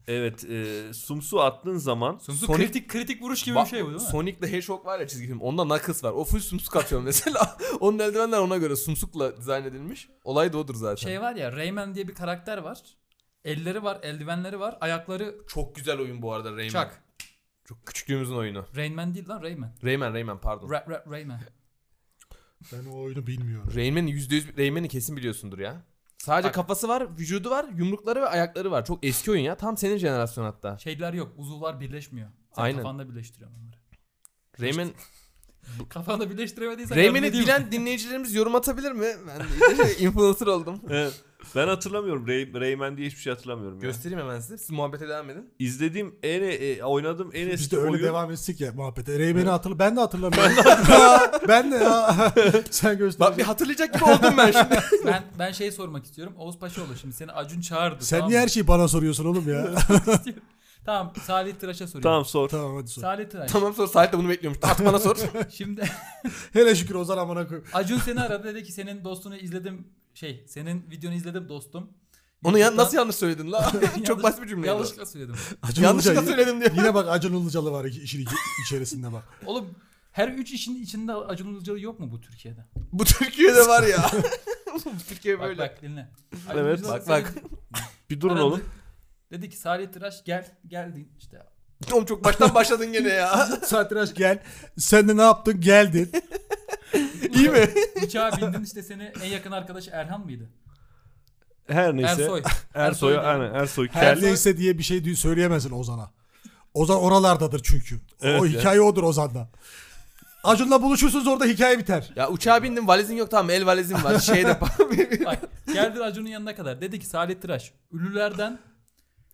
Speaker 1: Evet e, sumsu attığın zaman
Speaker 4: Sumsu
Speaker 2: Sonic-
Speaker 4: kritik kritik vuruş gibi
Speaker 2: Ba-
Speaker 4: bir şey bu değil mi?
Speaker 2: Sonic the Hedgehog var ya çizgi film. Onda Knuckles var. O full sumsuk atıyor mesela. Onun eldivenler ona göre sumsukla dizayn edilmiş. Olay da odur zaten.
Speaker 4: şey var ya Rayman diye bir karakter var. Elleri var, eldivenleri var, ayakları
Speaker 2: çok güzel oyun bu arada Rayman.
Speaker 4: çak.
Speaker 2: Çok küçüklüğümüzün oyunu.
Speaker 4: Rayman değil lan Rayman.
Speaker 2: Rayman Rayman pardon.
Speaker 4: Ra- ra- Rayman.
Speaker 5: Ben o oyunu bilmiyorum.
Speaker 2: Rayman'i %100 Rayman'i kesin biliyorsundur ya. Sadece
Speaker 4: Bak.
Speaker 2: kafası var, vücudu var, yumrukları ve ayakları var. Çok eski oyun ya. Tam senin jenerasyon hatta.
Speaker 4: Şeyler yok, uzuvlar birleşmiyor. Sen
Speaker 2: Aynen.
Speaker 4: kafanda birleştiriyorsun onları.
Speaker 2: Rayman
Speaker 4: Kafanda birleştiremediysen
Speaker 2: Rayman'i
Speaker 4: yardım edeyim.
Speaker 2: bilen dinleyicilerimiz yorum atabilir mi? Ben de influencer oldum.
Speaker 1: e, ben hatırlamıyorum. Ray, Rayman diye hiçbir şey hatırlamıyorum. Ya.
Speaker 2: Göstereyim hemen size. Siz muhabbete devam edin.
Speaker 1: İzlediğim en e, oynadığım en eski
Speaker 5: Biz de öyle
Speaker 1: oyun.
Speaker 5: devam etsek ya muhabbete. Reymen'i hatırla ben de hatırlamıyorum. ben de ya. Sen göster.
Speaker 2: Bak bir hatırlayacak gibi oldum ben şimdi.
Speaker 4: ben ben şey sormak istiyorum. Oğuz Paşaoğlu şimdi seni Acun çağırdı.
Speaker 5: Sen
Speaker 4: tamam
Speaker 5: niye
Speaker 4: mı?
Speaker 5: her şeyi bana soruyorsun oğlum ya?
Speaker 4: İstiyorum. Tamam Salih Tıraş'a soruyorum.
Speaker 1: Tamam sor.
Speaker 5: tamam hadi sor.
Speaker 4: Salih Tıraş.
Speaker 2: tamam sonra Salih de bunu bekliyormuş. At bana sor.
Speaker 4: Şimdi
Speaker 5: Hele şükür Ozan amına koyayım.
Speaker 4: Acun seni aradı dedi ki senin dostunu izledim şey senin videonu izledim dostum.
Speaker 2: Onu ya,
Speaker 4: YouTube'dan-
Speaker 2: nasıl yanlış söyledin la? Çok basit bir cümle. Yanlış.
Speaker 4: Yanlışlıkla söyledim.
Speaker 5: Acun
Speaker 2: Yanlışlıkla
Speaker 5: Ilıcalı-
Speaker 2: söyledim diyor.
Speaker 5: Yine bak Acun Ilıcalı var iki- işin iki- içerisinde bak.
Speaker 4: Oğlum her üç işin içinde Acun Ilıcalı yok mu bu Türkiye'de?
Speaker 2: Bu Türkiye'de var ya. Bu Türkiye
Speaker 4: Bak
Speaker 2: böyle.
Speaker 4: bak dinle.
Speaker 1: Evet.
Speaker 4: Ilıcalı
Speaker 2: Bak,
Speaker 4: seni
Speaker 2: bak.
Speaker 1: Bir durun
Speaker 4: aradı.
Speaker 1: oğlum.
Speaker 4: Dedi ki Salih Tıraş gel geldin işte.
Speaker 2: Oğlum çok baştan başladın gene ya.
Speaker 5: Satranç gel. Sen de ne yaptın? Geldin.
Speaker 2: İyi mi?
Speaker 4: Uçağa bindin işte seni en yakın arkadaş Erhan mıydı?
Speaker 1: Her neyse.
Speaker 4: Ersoy.
Speaker 1: Ersoy'a
Speaker 4: Ersoy
Speaker 1: aynen Ersoy.
Speaker 5: Her
Speaker 1: Kel.
Speaker 5: neyse diye bir şey diye söyleyemezsin Ozan'a. Ozan oralardadır çünkü.
Speaker 1: Evet
Speaker 5: o
Speaker 1: ya.
Speaker 5: hikaye odur Ozan'da. Acun'la buluşursunuz orada hikaye biter.
Speaker 2: Ya uçağa bindim valizin yok tamam el valizim var. Şey de
Speaker 4: Bak geldin Acun'un yanına kadar. Dedi ki Salih Tıraş ünlülerden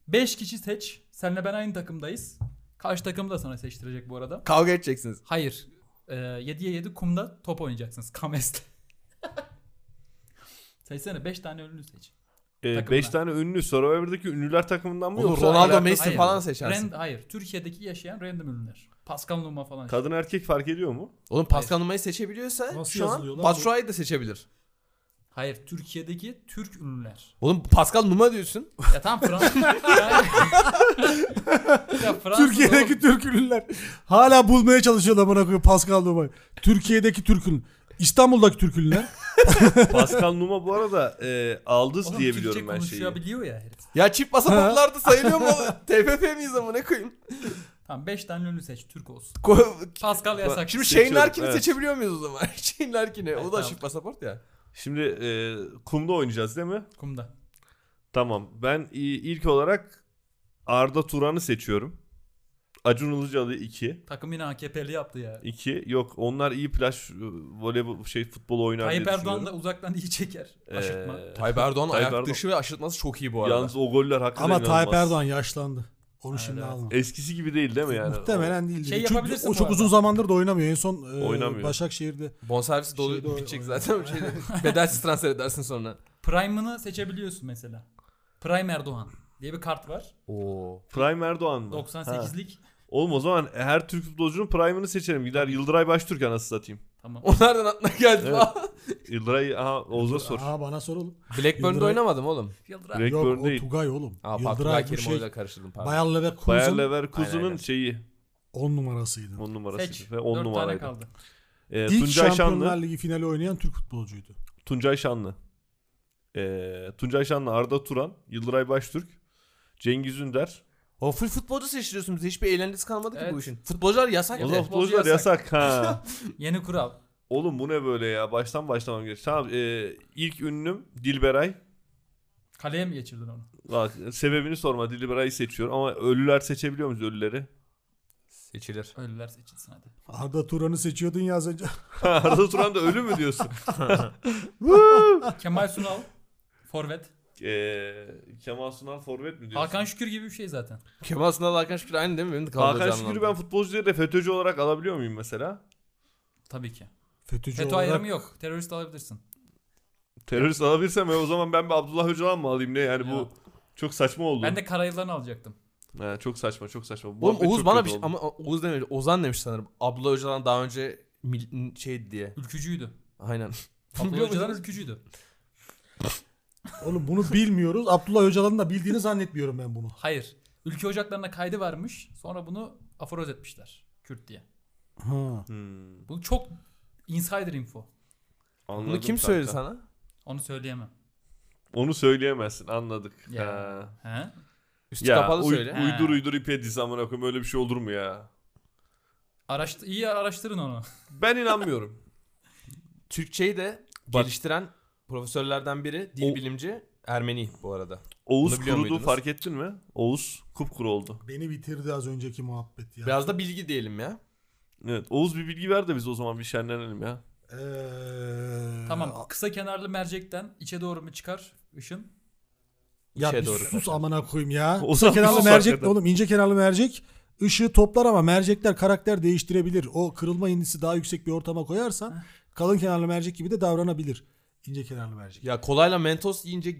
Speaker 4: 5 kişi seç. Senle ben aynı takımdayız. Karşı takımı da sana seçtirecek bu arada.
Speaker 2: Kavga edeceksiniz.
Speaker 4: Hayır. Ee, 7'ye 7 kumda top oynayacaksınız. Kames'te. Seçsene 5 tane ünlü seç. takımına.
Speaker 1: 5 e, tane ünlü Survivor'daki ünlüler takımından mı
Speaker 2: Oğlum
Speaker 1: yoksa
Speaker 2: Ronaldo
Speaker 1: alakalı-
Speaker 2: Messi falan seçersin.
Speaker 4: Rand- hayır. Türkiye'deki yaşayan random ünlüler. Pascal Numa falan. işte.
Speaker 1: Kadın erkek fark ediyor mu?
Speaker 2: Oğlum Pascal Numa'yı seçebiliyorsa
Speaker 5: Nasıl
Speaker 2: şu
Speaker 5: yazılıyor
Speaker 2: an
Speaker 5: lan
Speaker 2: Batshuayi'yi de seçebilir.
Speaker 4: Hayır. Türkiye'deki Türk ünlüler.
Speaker 2: Oğlum Pascal Numa diyorsun.
Speaker 4: Ya tamam Fransız. ya Fransız oğlum.
Speaker 5: Türkiye'deki Türk ünlüler hala bulmaya çalışıyorlar amına koyayım Pascal Numa. Türkiye'deki Türk ünlü. İstanbul'daki Türk ünlüler.
Speaker 1: Pascal Numa bu arada e, Aldız
Speaker 4: Oğlum
Speaker 1: diye
Speaker 4: Türkçe
Speaker 1: biliyorum ben şeyi.
Speaker 4: konuşabiliyor ya herif.
Speaker 2: Ya çift pasaportlarda sayılıyor mu? oğlum? TFF miyiz ama ne koyayım?
Speaker 4: Tamam 5 tane ünlü seç Türk olsun.
Speaker 2: Ko-
Speaker 4: Pascal yasak.
Speaker 2: Şimdi
Speaker 1: Seçiyorum,
Speaker 2: Shane Larkin'i
Speaker 1: evet.
Speaker 2: seçebiliyor muyuz o zaman? Shane Larkin'i.
Speaker 4: Evet,
Speaker 2: O da
Speaker 4: tamam.
Speaker 2: çift pasaport ya.
Speaker 1: Şimdi e, kumda oynayacağız değil mi?
Speaker 4: kumda.
Speaker 1: Tamam. Ben i- ilk olarak Arda Turan'ı seçiyorum. Acun Ilıcalı 2.
Speaker 4: Takım yine AKP'li yaptı ya.
Speaker 1: 2. Yok onlar iyi plaj e, voleybol şey futbol oynar
Speaker 4: Tayyip
Speaker 1: diye
Speaker 4: Erdoğan
Speaker 1: düşünüyorum.
Speaker 4: da uzaktan iyi çeker. Aşırtma.
Speaker 1: Ee,
Speaker 2: Tayyip Erdoğan
Speaker 1: Tayyip
Speaker 2: ayak
Speaker 1: Erdoğan.
Speaker 2: dışı ve aşırtması çok iyi bu arada.
Speaker 1: Yalnız o goller hakikaten
Speaker 5: Ama Tayyip
Speaker 1: inanılmaz.
Speaker 5: Erdoğan yaşlandı. Onu şimdi
Speaker 4: evet.
Speaker 5: alma.
Speaker 1: Eskisi gibi değil değil mi yani?
Speaker 5: Muhtemelen değil.
Speaker 4: Şey
Speaker 5: Çünkü
Speaker 4: yapabilirsin
Speaker 5: o
Speaker 4: bu
Speaker 5: çok
Speaker 4: arada.
Speaker 5: uzun zamandır da oynamıyor. En son e,
Speaker 1: Oynamıyor.
Speaker 5: Başakşehir'de.
Speaker 2: Bonservisi dolu
Speaker 5: Şeyde o-
Speaker 2: bitecek
Speaker 5: o-
Speaker 2: zaten. Şey, bedelsiz transfer edersin sonra.
Speaker 4: Prime'ını seçebiliyorsun mesela. Prime Erdoğan diye bir kart var.
Speaker 2: Oo.
Speaker 1: Prime Erdoğan mı? Ha.
Speaker 4: 98'lik.
Speaker 1: Oğlum o zaman her Türk futbolcunun prime'ını seçerim. Gider Yıldıray Baştürk anası satayım.
Speaker 4: Tamam.
Speaker 2: O nereden aklına geldi
Speaker 1: Evet.
Speaker 2: lan?
Speaker 1: Yıldıray aha Oğuz'a sor.
Speaker 5: Aa bana sor oğlum.
Speaker 2: Blackburn'da
Speaker 5: Yıldıray-
Speaker 2: oynamadım oğlum.
Speaker 4: Yıldıray.
Speaker 1: Blackburn
Speaker 5: Yok o
Speaker 1: değil.
Speaker 5: Tugay oğlum.
Speaker 2: Aa, Yıldıray
Speaker 5: Yıldıray bu
Speaker 2: Kerim
Speaker 5: şey.
Speaker 2: oyla karıştırdım pardon.
Speaker 5: Bayer
Speaker 1: Bayer
Speaker 5: Leverkusen.
Speaker 1: Leverkusen'ın
Speaker 2: Aynen, aynen.
Speaker 1: şeyi.
Speaker 5: 10 numarasıydı.
Speaker 1: 10
Speaker 4: Seç.
Speaker 1: numarasıydı ve 10
Speaker 4: 4 tane
Speaker 1: numaraydı.
Speaker 4: kaldı.
Speaker 1: Ee,
Speaker 5: İlk
Speaker 1: Tuncay
Speaker 5: Şampiyonlar
Speaker 1: Şanlı,
Speaker 5: Ligi finali oynayan Türk futbolcuydu.
Speaker 1: Tuncay Şanlı. Ee, Tuncay Şanlı, Arda Turan, Yıldıray Baştürk, Cengiz Ünder.
Speaker 2: O full futbolcu seçtiriyorsunuz. Hiçbir eğlencesi kalmadı ki
Speaker 4: Evet.
Speaker 2: bu işin. Futbolcular yasak.
Speaker 1: O
Speaker 4: Evet,
Speaker 2: bir de.
Speaker 1: zaman
Speaker 4: futbolcu
Speaker 1: futbolcular yasak. Ha.
Speaker 4: Yeni kural.
Speaker 1: Oğlum bu ne böyle ya? Baştan başlamam gerek. Tamam, ee, ilk ünlüm Dilberay.
Speaker 4: Kaleye mi geçirdin onu?
Speaker 1: Bak sebebini sorma Dilberay'ı seçiyorum ama ölüler seçebiliyor muyuz ölüleri?
Speaker 2: Seçilir.
Speaker 4: Ölüler seçilsin hadi.
Speaker 5: Arda Turan'ı seçiyordun ya az önce.
Speaker 1: Arda Turan da ölü mü diyorsun?
Speaker 4: Kemal Sunal. Forvet.
Speaker 1: Ee, Kemal Sunal forvet mi diyorsun?
Speaker 4: Hakan Şükür gibi bir şey zaten.
Speaker 2: Kemal Sunal Hakan Şükür aynı değil mi? Benim de kafamda
Speaker 1: Hakan
Speaker 2: canlandı.
Speaker 1: Şükür'ü ben futbolcu değil de FETÖ'cü olarak alabiliyor muyum mesela?
Speaker 4: Tabii ki.
Speaker 5: FETÖ'cü
Speaker 4: FETÖ
Speaker 5: olarak
Speaker 4: ayrımı yok. Terörist alabilirsin.
Speaker 1: Terörist alabilirsem e, o zaman ben bir Abdullah Öcalan mı alayım ne yani
Speaker 4: Ya.
Speaker 1: bu çok saçma oldu.
Speaker 4: Ben de Karayılan'ı alacaktım.
Speaker 1: He, çok saçma çok saçma. Bu
Speaker 2: Oğlum
Speaker 1: muhabbet
Speaker 2: Oğuz
Speaker 1: çok
Speaker 2: bana
Speaker 1: kötü
Speaker 2: bir şey,
Speaker 1: oldu.
Speaker 2: ama Oğuz dememiş. Ozan demiş sanırım. Abla Öcalan daha önce mil- şeydi diye.
Speaker 4: Ülkücüydü.
Speaker 2: Aynen.
Speaker 4: Abdullah
Speaker 2: Biliyor
Speaker 4: Öcalan
Speaker 2: musun?
Speaker 4: ülkücüydü.
Speaker 5: Oğlum bunu bilmiyoruz. Abdullah Öcalan'ın da bildiğini zannetmiyorum ben bunu.
Speaker 4: Hayır. Ülke ocaklarına kaydı varmış. Sonra bunu aforoz etmişler. Kürt diye.
Speaker 5: Ha.
Speaker 1: Hmm,
Speaker 4: Bu çok insider info.
Speaker 1: anladım
Speaker 2: Bunu kim
Speaker 1: kanka.
Speaker 2: söyledi sana?
Speaker 4: Onu söyleyemem.
Speaker 1: Onu söyleyemezsin anladık.
Speaker 4: Ya.
Speaker 1: Ha.
Speaker 4: He?
Speaker 2: Üstü
Speaker 1: Ya
Speaker 2: kapalı
Speaker 1: uy-
Speaker 2: söyle.
Speaker 4: Ha.
Speaker 1: uydur uydur ipe diz amına koyayım öyle bir şey olur mu ya?
Speaker 4: Araştı iyi araştırın onu.
Speaker 1: Ben inanmıyorum.
Speaker 2: Türkçeyi de
Speaker 1: Bak-
Speaker 2: geliştiren profesörlerden biri dil
Speaker 1: O-
Speaker 2: bilimci Ermeni bu arada.
Speaker 1: Oğuz
Speaker 2: Bunu biliyor
Speaker 1: kurudu
Speaker 2: muydunuz?
Speaker 1: fark ettin mi? Oğuz kupkuru oldu.
Speaker 5: Beni bitirdi az önceki muhabbet ya.
Speaker 2: Biraz da bilgi diyelim ya.
Speaker 1: Evet Oğuz bir bilgi ver de biz o zaman bir şenlenelim ya.
Speaker 5: Ee,
Speaker 4: Tamam. Kısa kenarlı mercekten içe doğru mu çıkar ışın?
Speaker 5: Ya
Speaker 2: İçe
Speaker 5: bir
Speaker 2: doğru.
Speaker 5: sus amına koyayım ya.
Speaker 1: O
Speaker 5: Kısa
Speaker 1: zaman
Speaker 5: kenarlı
Speaker 1: sus
Speaker 5: mercek
Speaker 1: hakikaten.
Speaker 5: ne oğlum? İnce kenarlı mercek ışığı toplar ama mercekler karakter değiştirebilir. O kırılma indisi daha yüksek bir ortama koyarsan kalın kenarlı mercek gibi de davranabilir. İnce kenarlı mercek.
Speaker 2: Ya kolayla mentos yiyince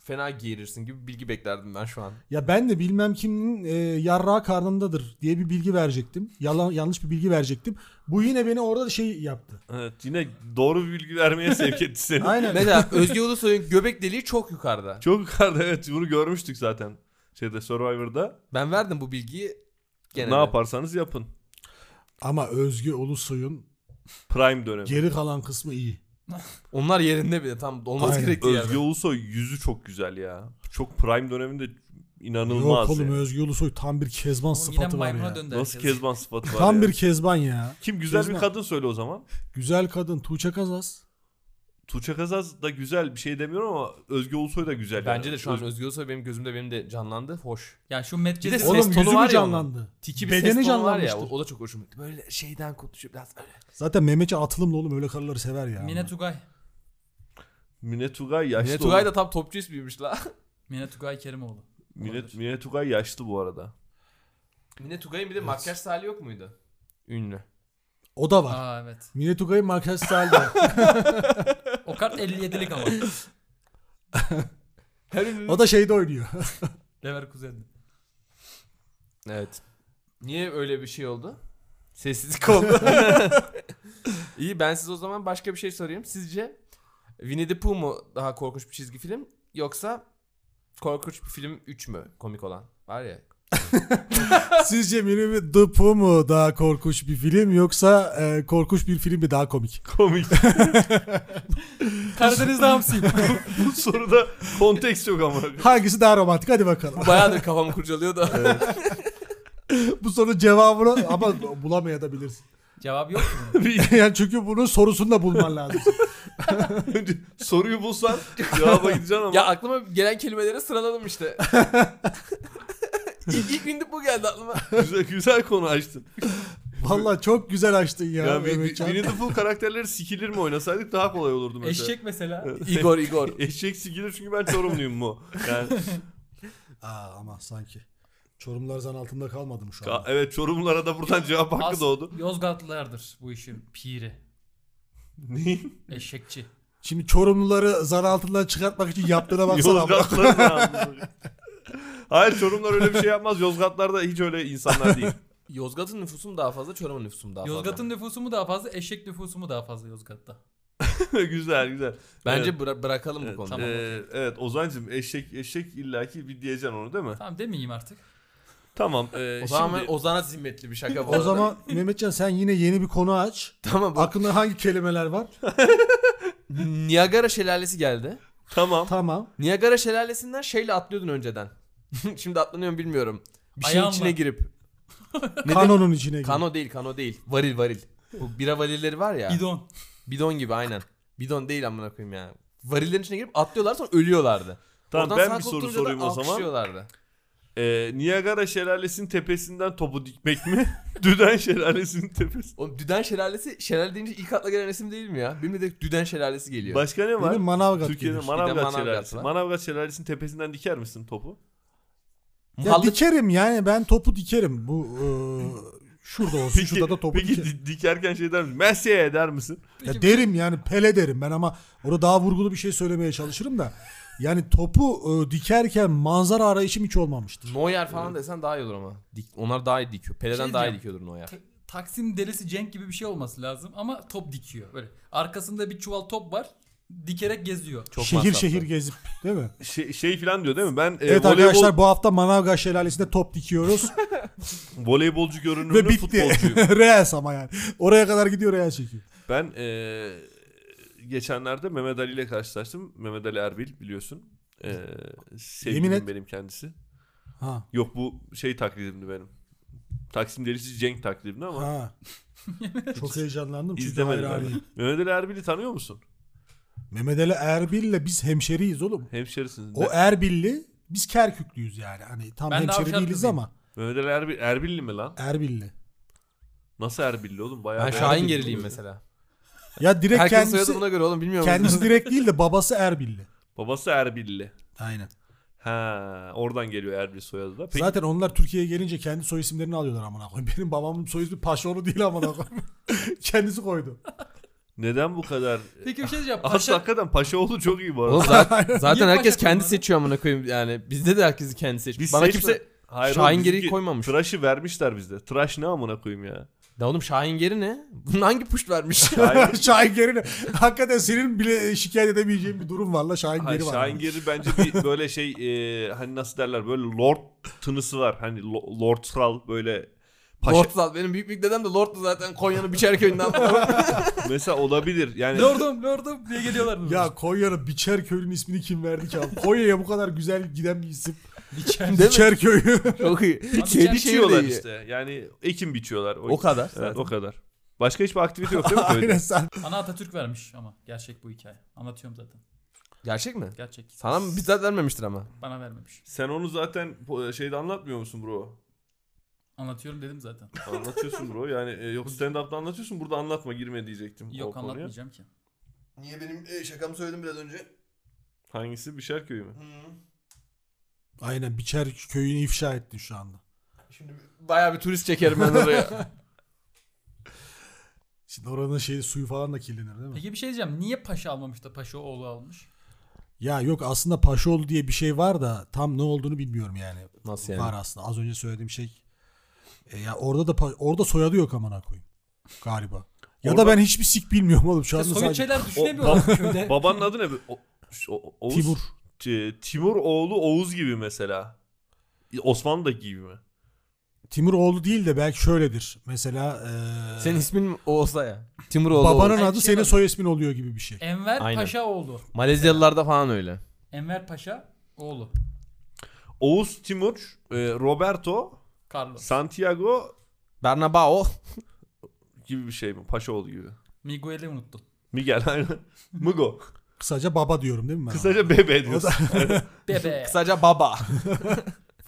Speaker 2: fena giyerirsin gibi bilgi beklerdim ben şu an.
Speaker 5: Ya ben de bilmem kimin e, yarrağı karnındadır diye bir bilgi verecektim. Yalan yanlış bir bilgi verecektim. Bu yine beni orada şey yaptı.
Speaker 1: Evet yine doğru bir bilgi vermeye sevk etti seni.
Speaker 5: Aynen.
Speaker 2: Mesela Özge Ulusoy'un göbek deliği çok yukarıda.
Speaker 1: Çok yukarıda evet bunu görmüştük zaten. Şeyde Survivor'da
Speaker 2: Ben verdim bu bilgiyi gene.
Speaker 1: ne
Speaker 2: de.
Speaker 1: yaparsanız yapın.
Speaker 5: Ama Özge Ulusoy'un
Speaker 1: Prime dönemi.
Speaker 5: geri kalan kısmı iyi.
Speaker 2: Onlar yerinde bile tam olması
Speaker 5: Aynen.
Speaker 2: gerektiği
Speaker 1: Özge
Speaker 2: yerde.
Speaker 1: Ulusoy yüzü çok güzel ya. Çok Prime döneminde
Speaker 5: Yok
Speaker 1: inanılmaz.
Speaker 5: oğlum
Speaker 1: yani.
Speaker 5: Özge Ulusoy tam bir kezban
Speaker 4: Oğlum yine
Speaker 5: sıfatı var
Speaker 4: maymuna
Speaker 5: ya.
Speaker 4: döndü
Speaker 1: Nasıl
Speaker 4: herkes.
Speaker 1: Kezban sıfatı var
Speaker 5: Tam
Speaker 1: ya.
Speaker 5: bir kezban ya.
Speaker 1: Kim güzel
Speaker 5: Kezban.
Speaker 1: bir kadın söyle o zaman.
Speaker 5: Güzel kadın Tuğçe Kazas.
Speaker 1: Tuğçe Kazaz da güzel bir şey demiyorum ama Özge Ulusoy da güzel.
Speaker 2: E, Bence
Speaker 1: yani.
Speaker 2: de şu an
Speaker 1: Öz-
Speaker 2: Özge Ulusoy benim gözümde benim de canlandı. Hoş.
Speaker 4: Ya şu Met
Speaker 2: Bir de
Speaker 4: Gezi-
Speaker 2: Ses
Speaker 5: Oğlum
Speaker 2: tonu
Speaker 5: yüzü
Speaker 2: var ya
Speaker 5: mü canlandı?
Speaker 2: Tiki bir
Speaker 5: Bedeni
Speaker 2: ses tonu var ya. O,
Speaker 5: canlanmıştır.
Speaker 2: o da çok hoşuma gitti. Böyle şeyden konuşuyor biraz öyle.
Speaker 5: Zaten Mehmetçi Atılımlı oğlum öyle karıları sever ya.
Speaker 4: Mine Tugay.
Speaker 1: Mine Tugay yaşlı.
Speaker 2: Mine Tugay
Speaker 1: oğlum.
Speaker 2: da tam topçu ismiymiş la.
Speaker 4: Mine Tugay Kerimoğlu.
Speaker 1: Mine, Mine Tugay yaşlı bu arada.
Speaker 2: Mine Tugay'ın bir de makyaj hali yok muydu? Ünlü.
Speaker 5: O da var.
Speaker 4: Aa evet.
Speaker 5: Mine Tugay'ın makyaj style de.
Speaker 4: O kart 57'lik ama.
Speaker 2: Her ünlü.
Speaker 5: o da şeyde oynuyor.
Speaker 4: Leverkusen'de.
Speaker 2: Evet. Niye öyle bir şey oldu? Sessizlik oldu. İyi ben size o zaman başka bir şey sorayım. Sizce Winnie the Pooh mu daha korkunç bir çizgi film yoksa korkunç bir film 3 mü komik olan? Var ya.
Speaker 5: Sizce Mine The Pooh mu daha korkunç bir film yoksa e, korkunç bir film mi daha komik?
Speaker 1: Komik.
Speaker 4: Karadeniz'de hamsiyim.
Speaker 1: bu soruda konteks yok ama.
Speaker 5: Hangisi daha romantik? Hadi bakalım.
Speaker 2: Bayağıdır kafamı kurcalıyordu.
Speaker 5: Bu sorunun cevabını ama bulamayabilirsin.
Speaker 4: Cevap yok mu?
Speaker 1: Bir-
Speaker 5: yani çünkü bunun sorusunu da bulman lazım.
Speaker 1: önce soruyu bulsan cevaba gideceksin ama.
Speaker 2: ya aklıma gelen kelimeleri sıraladım işte. ilk, ilk Winnie the Pooh geldi aklıma.
Speaker 1: Güzel, güzel konu açtın.
Speaker 5: Vallahi çok güzel açtın ya.
Speaker 1: Ya, yani Winnie
Speaker 5: Mehmetcan.
Speaker 1: Winnie the Pooh karakterleri sikilir mi oynasaydık daha kolay olurdu mesela.
Speaker 4: Eşek mesela.
Speaker 2: Igor Igor.
Speaker 1: Eşek sikilir çünkü ben Çorumluyum mu? Yani
Speaker 5: Aa, ama sanki. Çorumlar zan altında kalmadı mı şu
Speaker 1: ka-
Speaker 5: an?
Speaker 1: evet Çorumlulara da buradan cevap hakkı
Speaker 4: As-
Speaker 1: doğdu.
Speaker 4: Yozgatlılardır bu işin piri.
Speaker 1: Neyin?
Speaker 4: Eşekçi.
Speaker 5: Şimdi Çorumluları zan altından çıkartmak için yaptığına baksana. ama.
Speaker 1: Yozgatlılar ne anladı? Hayır Çorumlar öyle bir şey yapmaz. Yozgatlar da hiç öyle insanlar değil.
Speaker 2: Yozgat'ın nüfusu mu daha fazla, Çorum'un nüfusu mu daha fazla?
Speaker 4: Yozgat'ın nüfusu mu daha fazla, eşek nüfusu mu daha fazla Yozgat'ta?
Speaker 1: güzel güzel.
Speaker 2: Bence
Speaker 1: Evet.
Speaker 2: bıra- bırakalım bu konuyu.
Speaker 1: Ee, evet Ozancım eşek eşek illaki bir diyeceksin onu değil mi?
Speaker 4: Tamam demeyeyim artık.
Speaker 1: Tamam. e,
Speaker 2: O zaman
Speaker 1: şimdi-
Speaker 2: Ozan'a zimmetli bir şaka bu
Speaker 5: O
Speaker 2: arada.
Speaker 5: zaman Mehmetcan sen yine yeni bir konu aç.
Speaker 2: Tamam bu.
Speaker 5: Aklında hangi kelimeler var?
Speaker 2: Niagara şelalesi geldi.
Speaker 1: Tamam.
Speaker 5: tamam.
Speaker 2: Niagara şelalesinden şeyle atlıyordun önceden. Şimdi atlanıyorum bilmiyorum. Bir şeyin
Speaker 4: Ayağınla.
Speaker 2: içine girip. Ne
Speaker 5: Kanonun içine gir.
Speaker 2: Kano değil kano değil. Varil varil. Bu bira varilleri var ya.
Speaker 4: Bidon.
Speaker 2: Bidon gibi aynen. Bidon değil amına koyayım ya. Varillerin içine girip atlıyorlar sonra ölüyorlardı.
Speaker 1: Tamam
Speaker 2: Oradan
Speaker 1: ben
Speaker 2: sağa
Speaker 1: bir soru
Speaker 2: kurtulunca da
Speaker 1: sorayım o zaman.
Speaker 2: alkışlıyorlardı.
Speaker 1: E, Niagara şelalesinin tepesinden topu dikmek mi? Düden şelalesinin tepesi.
Speaker 2: Oğlum Düden Şelalesi, şelale deyince ilk akla gelen resim değil mi ya? Benim de direkt Düden Şelalesi geliyor.
Speaker 1: Başka ne var?
Speaker 5: Benim Manavgat
Speaker 1: Türkiye'de
Speaker 5: gelir.
Speaker 1: Manavgat,
Speaker 2: Bir de Manavgat
Speaker 1: şelalesi.
Speaker 2: var.
Speaker 1: Manavgat şelalesinin tepesinden diker misin topu?
Speaker 5: Ya
Speaker 2: Muhallı-
Speaker 5: dikerim yani ben topu dikerim. Bu e, şurada olsun şurada da topu
Speaker 1: peki
Speaker 5: dikerim.
Speaker 1: di- dikerken şey der misin? Messi eder misin?
Speaker 5: Ya derim yani pele derim ben ama orada daha vurgulu bir şey söylemeye çalışırım da. Yani topu e, dikerken manzara arayışım hiç olmamıştır.
Speaker 2: Neuer falan desen daha iyi olur ama. Dik, onlar daha iyi dikiyor. Pele'den
Speaker 4: Şey
Speaker 2: daha iyi
Speaker 4: diyeceğim.
Speaker 2: dikiyordur Neuer.
Speaker 4: Ta- Taksim delisi Cenk gibi bir şey olması lazım ama top dikiyor. Böyle arkasında bir çuval top var. Dikerek geziyor.
Speaker 2: Çok
Speaker 5: şehir
Speaker 2: masraflı.
Speaker 5: şehir gezip değil mi?
Speaker 1: Şey, şey falan diyor değil mi? Ben e,
Speaker 5: Evet
Speaker 1: voleybol,
Speaker 5: arkadaşlar bu hafta Manavgat Şelalesi'nde top dikiyoruz
Speaker 1: voleybolcu görünümlü
Speaker 5: ve bitti.
Speaker 1: futbolcuyum.
Speaker 5: Reels ama yani. Oraya kadar gidiyor Reels çekiyor.
Speaker 1: Ben e, geçenlerde Mehmet Ali ile karşılaştım. Mehmet Ali Erbil biliyorsun. E, sevgilim
Speaker 5: Yemin et.
Speaker 1: benim kendisi.
Speaker 5: Ha.
Speaker 1: Yok bu şey taklidimdi benim. Taksim delisi Cenk taklidimdi ama
Speaker 5: Ha. Çok heyecanlandım çünkü
Speaker 1: izlemedim.
Speaker 5: hayır
Speaker 1: ben.
Speaker 5: abi.
Speaker 1: Mehmet Ali Erbil'i tanıyor musun?
Speaker 5: Mehmet Ali Erbil'le biz hemşeriyiz oğlum.
Speaker 1: Hemşerisiniz.
Speaker 5: O er-
Speaker 1: Ne?
Speaker 5: Erbil'li biz Kerküklüyüz yani. Hani tam
Speaker 4: Ben de
Speaker 5: hemşeri
Speaker 4: Avşar
Speaker 5: değiliz
Speaker 4: kızıyım.
Speaker 5: ama
Speaker 1: Mehmet Ali Erbil, Erbilli mi lan?
Speaker 5: Erbil'li.
Speaker 1: Nasıl Erbilli oğlum? Bayağı
Speaker 2: Ben Şahin geriliyim mesela.
Speaker 5: Ya direkt
Speaker 2: Herkesin
Speaker 5: kendisi
Speaker 2: soyadı buna göre oğlum bilmiyorum.
Speaker 5: kendisi direkt değil de babası Erbil'li.
Speaker 1: Babası Erbilli.
Speaker 5: Aynen.
Speaker 1: Ha, oradan geliyor Erbil soyadı da. Peki,
Speaker 5: Zaten onlar Türkiye'ye gelince kendi soy isimlerini alıyorlar amına koyayım. Benim babamın soy ismi Paşoğlu değil amına koyayım. kendisi koydu.
Speaker 1: neden bu kadar?
Speaker 4: Peki bir şey diyeceğim.
Speaker 1: Paşa...
Speaker 4: Paşa,
Speaker 1: Hakikaten Paşaoğlu çok iyi bu arada.
Speaker 2: Oğlum zaten, zaten
Speaker 4: Niye
Speaker 2: herkes
Speaker 4: başa
Speaker 2: kendi
Speaker 4: koymadın?
Speaker 2: seçiyor amına koyayım yani. Bizde de herkes kendi seçiyor.
Speaker 1: Biz
Speaker 2: Bana
Speaker 1: seçme-
Speaker 2: kimse
Speaker 1: Hayır,
Speaker 2: şey Şahin
Speaker 1: oğlum,
Speaker 2: Geri'yi
Speaker 1: bizimki
Speaker 2: koymamış.
Speaker 1: Tıraşı vermişler bizde. Tıraş ne amına koyayım ya.
Speaker 2: Ya oğlum Şahin geri ne? Bunun hangi puşt vermiş?
Speaker 1: Şahin,
Speaker 5: Şahin Geri'ne. Hakikaten senin bile şikayet edemeyeceğin bir durum var la Şahin
Speaker 1: hayır,
Speaker 5: Geri var.
Speaker 1: Şahin Geri bence bir böyle şey e, hani nasıl derler böyle lord tınısı var. Hani lo- lord kral böyle paşa.
Speaker 2: Lord'lu. Benim büyük büyük dedem de Lord'lu zaten Konya'nın Biçerköy'ünden.
Speaker 1: Mesela olabilir. Yani
Speaker 4: lordum lordum diye geliyorlar.
Speaker 5: Ya Konya'nın Biçerköy'ün ismini kim verdi ki abi? Konya'ya bu kadar güzel giden bir isim.
Speaker 4: Diker.
Speaker 2: mi?
Speaker 5: Biçerköy'ü.
Speaker 2: Çok iyi.
Speaker 4: Biçer
Speaker 2: Kedi şey
Speaker 1: biçiyorlar
Speaker 2: diyorlar işte.
Speaker 1: işte. Yani ekim biçiyorlar.
Speaker 2: O kadar.
Speaker 1: Evet, o kadar. Başka hiçbir aktivite yok değil mi köyde?
Speaker 5: Aynen sen.
Speaker 4: Ana Atatürk vermiş ama gerçek bu hikaye. Anlatıyorum zaten.
Speaker 2: Gerçek mi?
Speaker 4: Gerçek.
Speaker 2: Sana mı? bizzat vermemiştir ama.
Speaker 4: Bana vermemiş.
Speaker 1: Sen onu zaten po- şeyde anlatmıyor musun bro?
Speaker 4: Anlatıyorum dedim zaten.
Speaker 1: Anlatıyorsun bro. Yani e, yok stand-up'ta anlatıyorsun. Burada anlatma girme diyecektim. o
Speaker 4: Yok
Speaker 1: konuya.
Speaker 4: anlatmayacağım ki.
Speaker 3: Niye benim e, şakamı söyledim biraz önce?
Speaker 1: Hangisi? Bişerköy mü?
Speaker 3: Hı.
Speaker 5: Aynen Biçerköy'ünü ifşa ettin şu anda.
Speaker 3: Şimdi bir-
Speaker 2: Bayağı bir turist çekerim ben oraya.
Speaker 5: Şimdi oranın şeyi suyu falan da kirlenir değil mi?
Speaker 4: Peki bir şey diyeceğim. Niye paşa almamış da paşa oğlu almış?
Speaker 5: Ya yok aslında Paşoğlu diye bir şey var da tam ne olduğunu bilmiyorum yani.
Speaker 2: Nasıl
Speaker 5: Var aslında az önce söylediğim şey. E ya orada da pa- orada soyadı yok amına koyayım galiba. Ya
Speaker 1: Orada-
Speaker 5: da ben hiçbir sik bilmiyorum oğlum şu
Speaker 4: Ya
Speaker 5: anda
Speaker 4: soyut
Speaker 5: sadece
Speaker 4: şeyler düşünemiyorlar köyde.
Speaker 1: Babanın adı ne? O, o, Oğuz,
Speaker 5: Timur.
Speaker 1: T- Timur oğlu Oğuz gibi mesela. Osmanlı da gibi mi?
Speaker 5: Timur oğlu değil de belki şöyledir. Mesela e,
Speaker 2: Senin ismin o olsa ya. Timur oğlu.
Speaker 5: babanın
Speaker 2: Babanın...
Speaker 4: Aynı
Speaker 5: adı
Speaker 4: şey
Speaker 5: senin
Speaker 4: var.
Speaker 5: soy ismin oluyor gibi bir şey.
Speaker 4: Enver
Speaker 2: Aynen.
Speaker 4: Paşa oğlu.
Speaker 2: Malezyalılarda falan öyle.
Speaker 4: Enver Paşa oğlu.
Speaker 1: Oğuz, Timur, e, Roberto,
Speaker 4: Carlos.
Speaker 1: Santiago
Speaker 2: Bernabao.
Speaker 1: gibi bir şey mi? Paşaoğlu gibi.
Speaker 4: Miguel'i unuttum.
Speaker 1: Miguel aynen. Mugo.
Speaker 5: Kısaca baba diyorum değil mi ben? ona?
Speaker 1: Kısaca bebe
Speaker 5: O
Speaker 1: diyorsun.
Speaker 5: da-
Speaker 4: Bebe.
Speaker 2: Kısaca baba.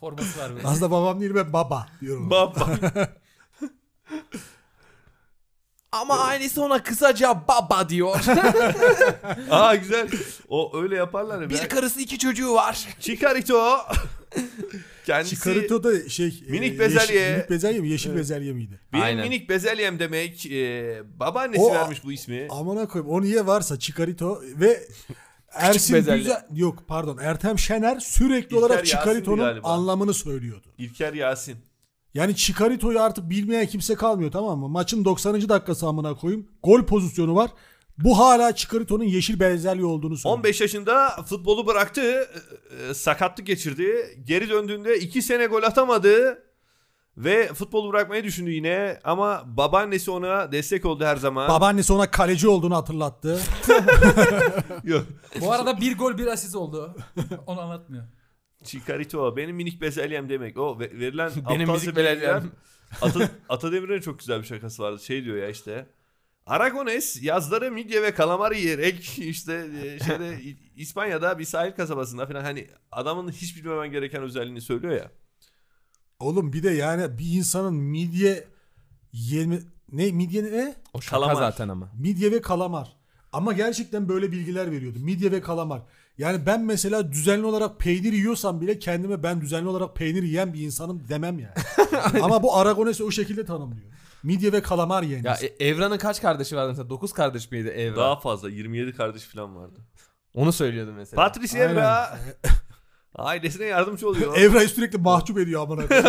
Speaker 4: Forması var böyle.
Speaker 5: aslında babam değil ben baba diyorum.
Speaker 1: Baba.
Speaker 2: Ama ailesi ona kısaca baba diyor.
Speaker 1: Aa güzel. O öyle yaparlar ya.
Speaker 2: bir
Speaker 1: Bir...
Speaker 2: karısı iki çocuğu var.
Speaker 1: Chikarito. Kendisi
Speaker 5: Chikarito da şey e,
Speaker 1: Minik bezelye.
Speaker 5: Yeşil, minik bezelye mi? Yeşil bezelye miydi?
Speaker 1: benim
Speaker 2: Aynen.
Speaker 1: minik bezelyem demek. E, babaannesi
Speaker 5: O-
Speaker 1: vermiş bu ismi.
Speaker 5: Amına koyayım o niye varsa Chikarito ve Ersin
Speaker 2: bezelye.
Speaker 5: Güzel yok pardon Ertem Şener sürekli
Speaker 1: İlker
Speaker 5: olarak
Speaker 1: Yasin'di
Speaker 5: Chikarito'nun
Speaker 1: galiba.
Speaker 5: anlamını söylüyordu.
Speaker 1: İlker Yasin.
Speaker 5: Yani Chikarito'yu artık bilmeyen kimse kalmıyor tamam mı? Maçın 90. dakikası amına koyayım. Gol pozisyonu var. Bu hala Chikarito'nun yeşil bezelye olduğunu söylüyor.
Speaker 1: 15 yaşında futbolu bıraktı, e, e, sakatlık geçirdi. Geri döndüğünde 2 sene gol atamadı. Ve futbolu bırakmayı düşündü yine ama babaannesi ona destek oldu her zaman.
Speaker 5: Babaannesi ona kaleci olduğunu hatırlattı.
Speaker 1: Yok.
Speaker 4: Bu arada bir gol bir asist oldu. Onu anlatmıyor.
Speaker 1: Chikarito benim minik bezelyem demek. O ve- verilen
Speaker 2: Benim
Speaker 1: aptalca
Speaker 2: müzik
Speaker 1: bilgiler-
Speaker 2: belediğim.
Speaker 1: Ata, Atademir'in çok güzel bir şakası vardı. Şey diyor ya işte. Aragones yazları midye ve kalamar yiyerek işte e, şeyde İ- İspanya'da bir sahil kasabasında falan hani adamın hiç bilmemen gereken özelliğini söylüyor ya.
Speaker 5: Oğlum bir de yani bir insanın midye yeme ne midye ne?
Speaker 2: O şaka
Speaker 1: Kalamar.
Speaker 2: zaten ama.
Speaker 5: Midye ve kalamar. Ama gerçekten böyle bilgiler veriyordu. Midye ve kalamar. Yani ben mesela düzenli olarak peynir yiyorsam bile kendime ben düzenli olarak peynir yiyen bir insanım demem yani. Ama bu Aragones o şekilde tanımlıyor. Midye ve kalamar yiyen.
Speaker 2: Ya
Speaker 5: insan.
Speaker 2: E- Evran'ın kaç kardeşi vardı mesela? 9 kardeş miydi Evran?
Speaker 1: Daha fazla 27 kardeş falan vardı.
Speaker 2: Onu söylüyordum mesela.
Speaker 1: Patrice
Speaker 5: Aynen.
Speaker 1: Evra ailesine yardımcı oluyor.
Speaker 5: Evra'yı sürekli mahcup ediyor amına koyayım.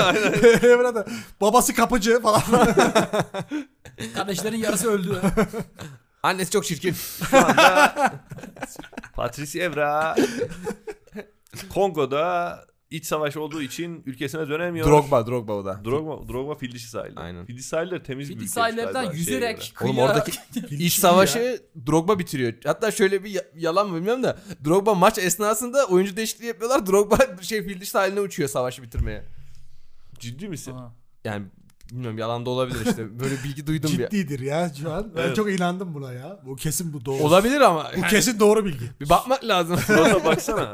Speaker 5: Evra da babası kapıcı falan.
Speaker 4: Kardeşlerin yarısı öldü.
Speaker 2: Annesi çok çirkin.
Speaker 1: Şu anda Patrice Evra Kongo'da iç savaş olduğu için ülkesine dönemiyor.
Speaker 2: Drogba, Drogba o da.
Speaker 1: Drogba, Drogba Fildişi sahili.
Speaker 2: Aynen.
Speaker 1: Fildişi sahilleri temiz bir
Speaker 4: Bir
Speaker 1: ülkeymiş
Speaker 4: sahillerden
Speaker 1: galiba şeye göre.
Speaker 4: yüzerek
Speaker 2: Oğlum
Speaker 4: kıyıya-
Speaker 2: oradaki iç savaşı Drogba bitiriyor. Hatta şöyle bir ya- yalan mı bilmiyorum da Drogba maç esnasında oyuncu değişikliği yapıyorlar. Drogba şey Fildiş sahiline uçuyor savaşı bitirmeye.
Speaker 1: Ciddi misin?
Speaker 4: Aha.
Speaker 2: Yani bilmiyorum yalan da olabilir işte. Böyle bilgi duydum bir.
Speaker 5: Ciddidir ya şu an. Ben
Speaker 1: Evet.
Speaker 5: çok inandım buna ya. Bu kesin bu doğru.
Speaker 2: Olabilir ama.
Speaker 5: Bu kesin doğru bilgi.
Speaker 2: Bir bakmak lazım.
Speaker 1: Surata baksana.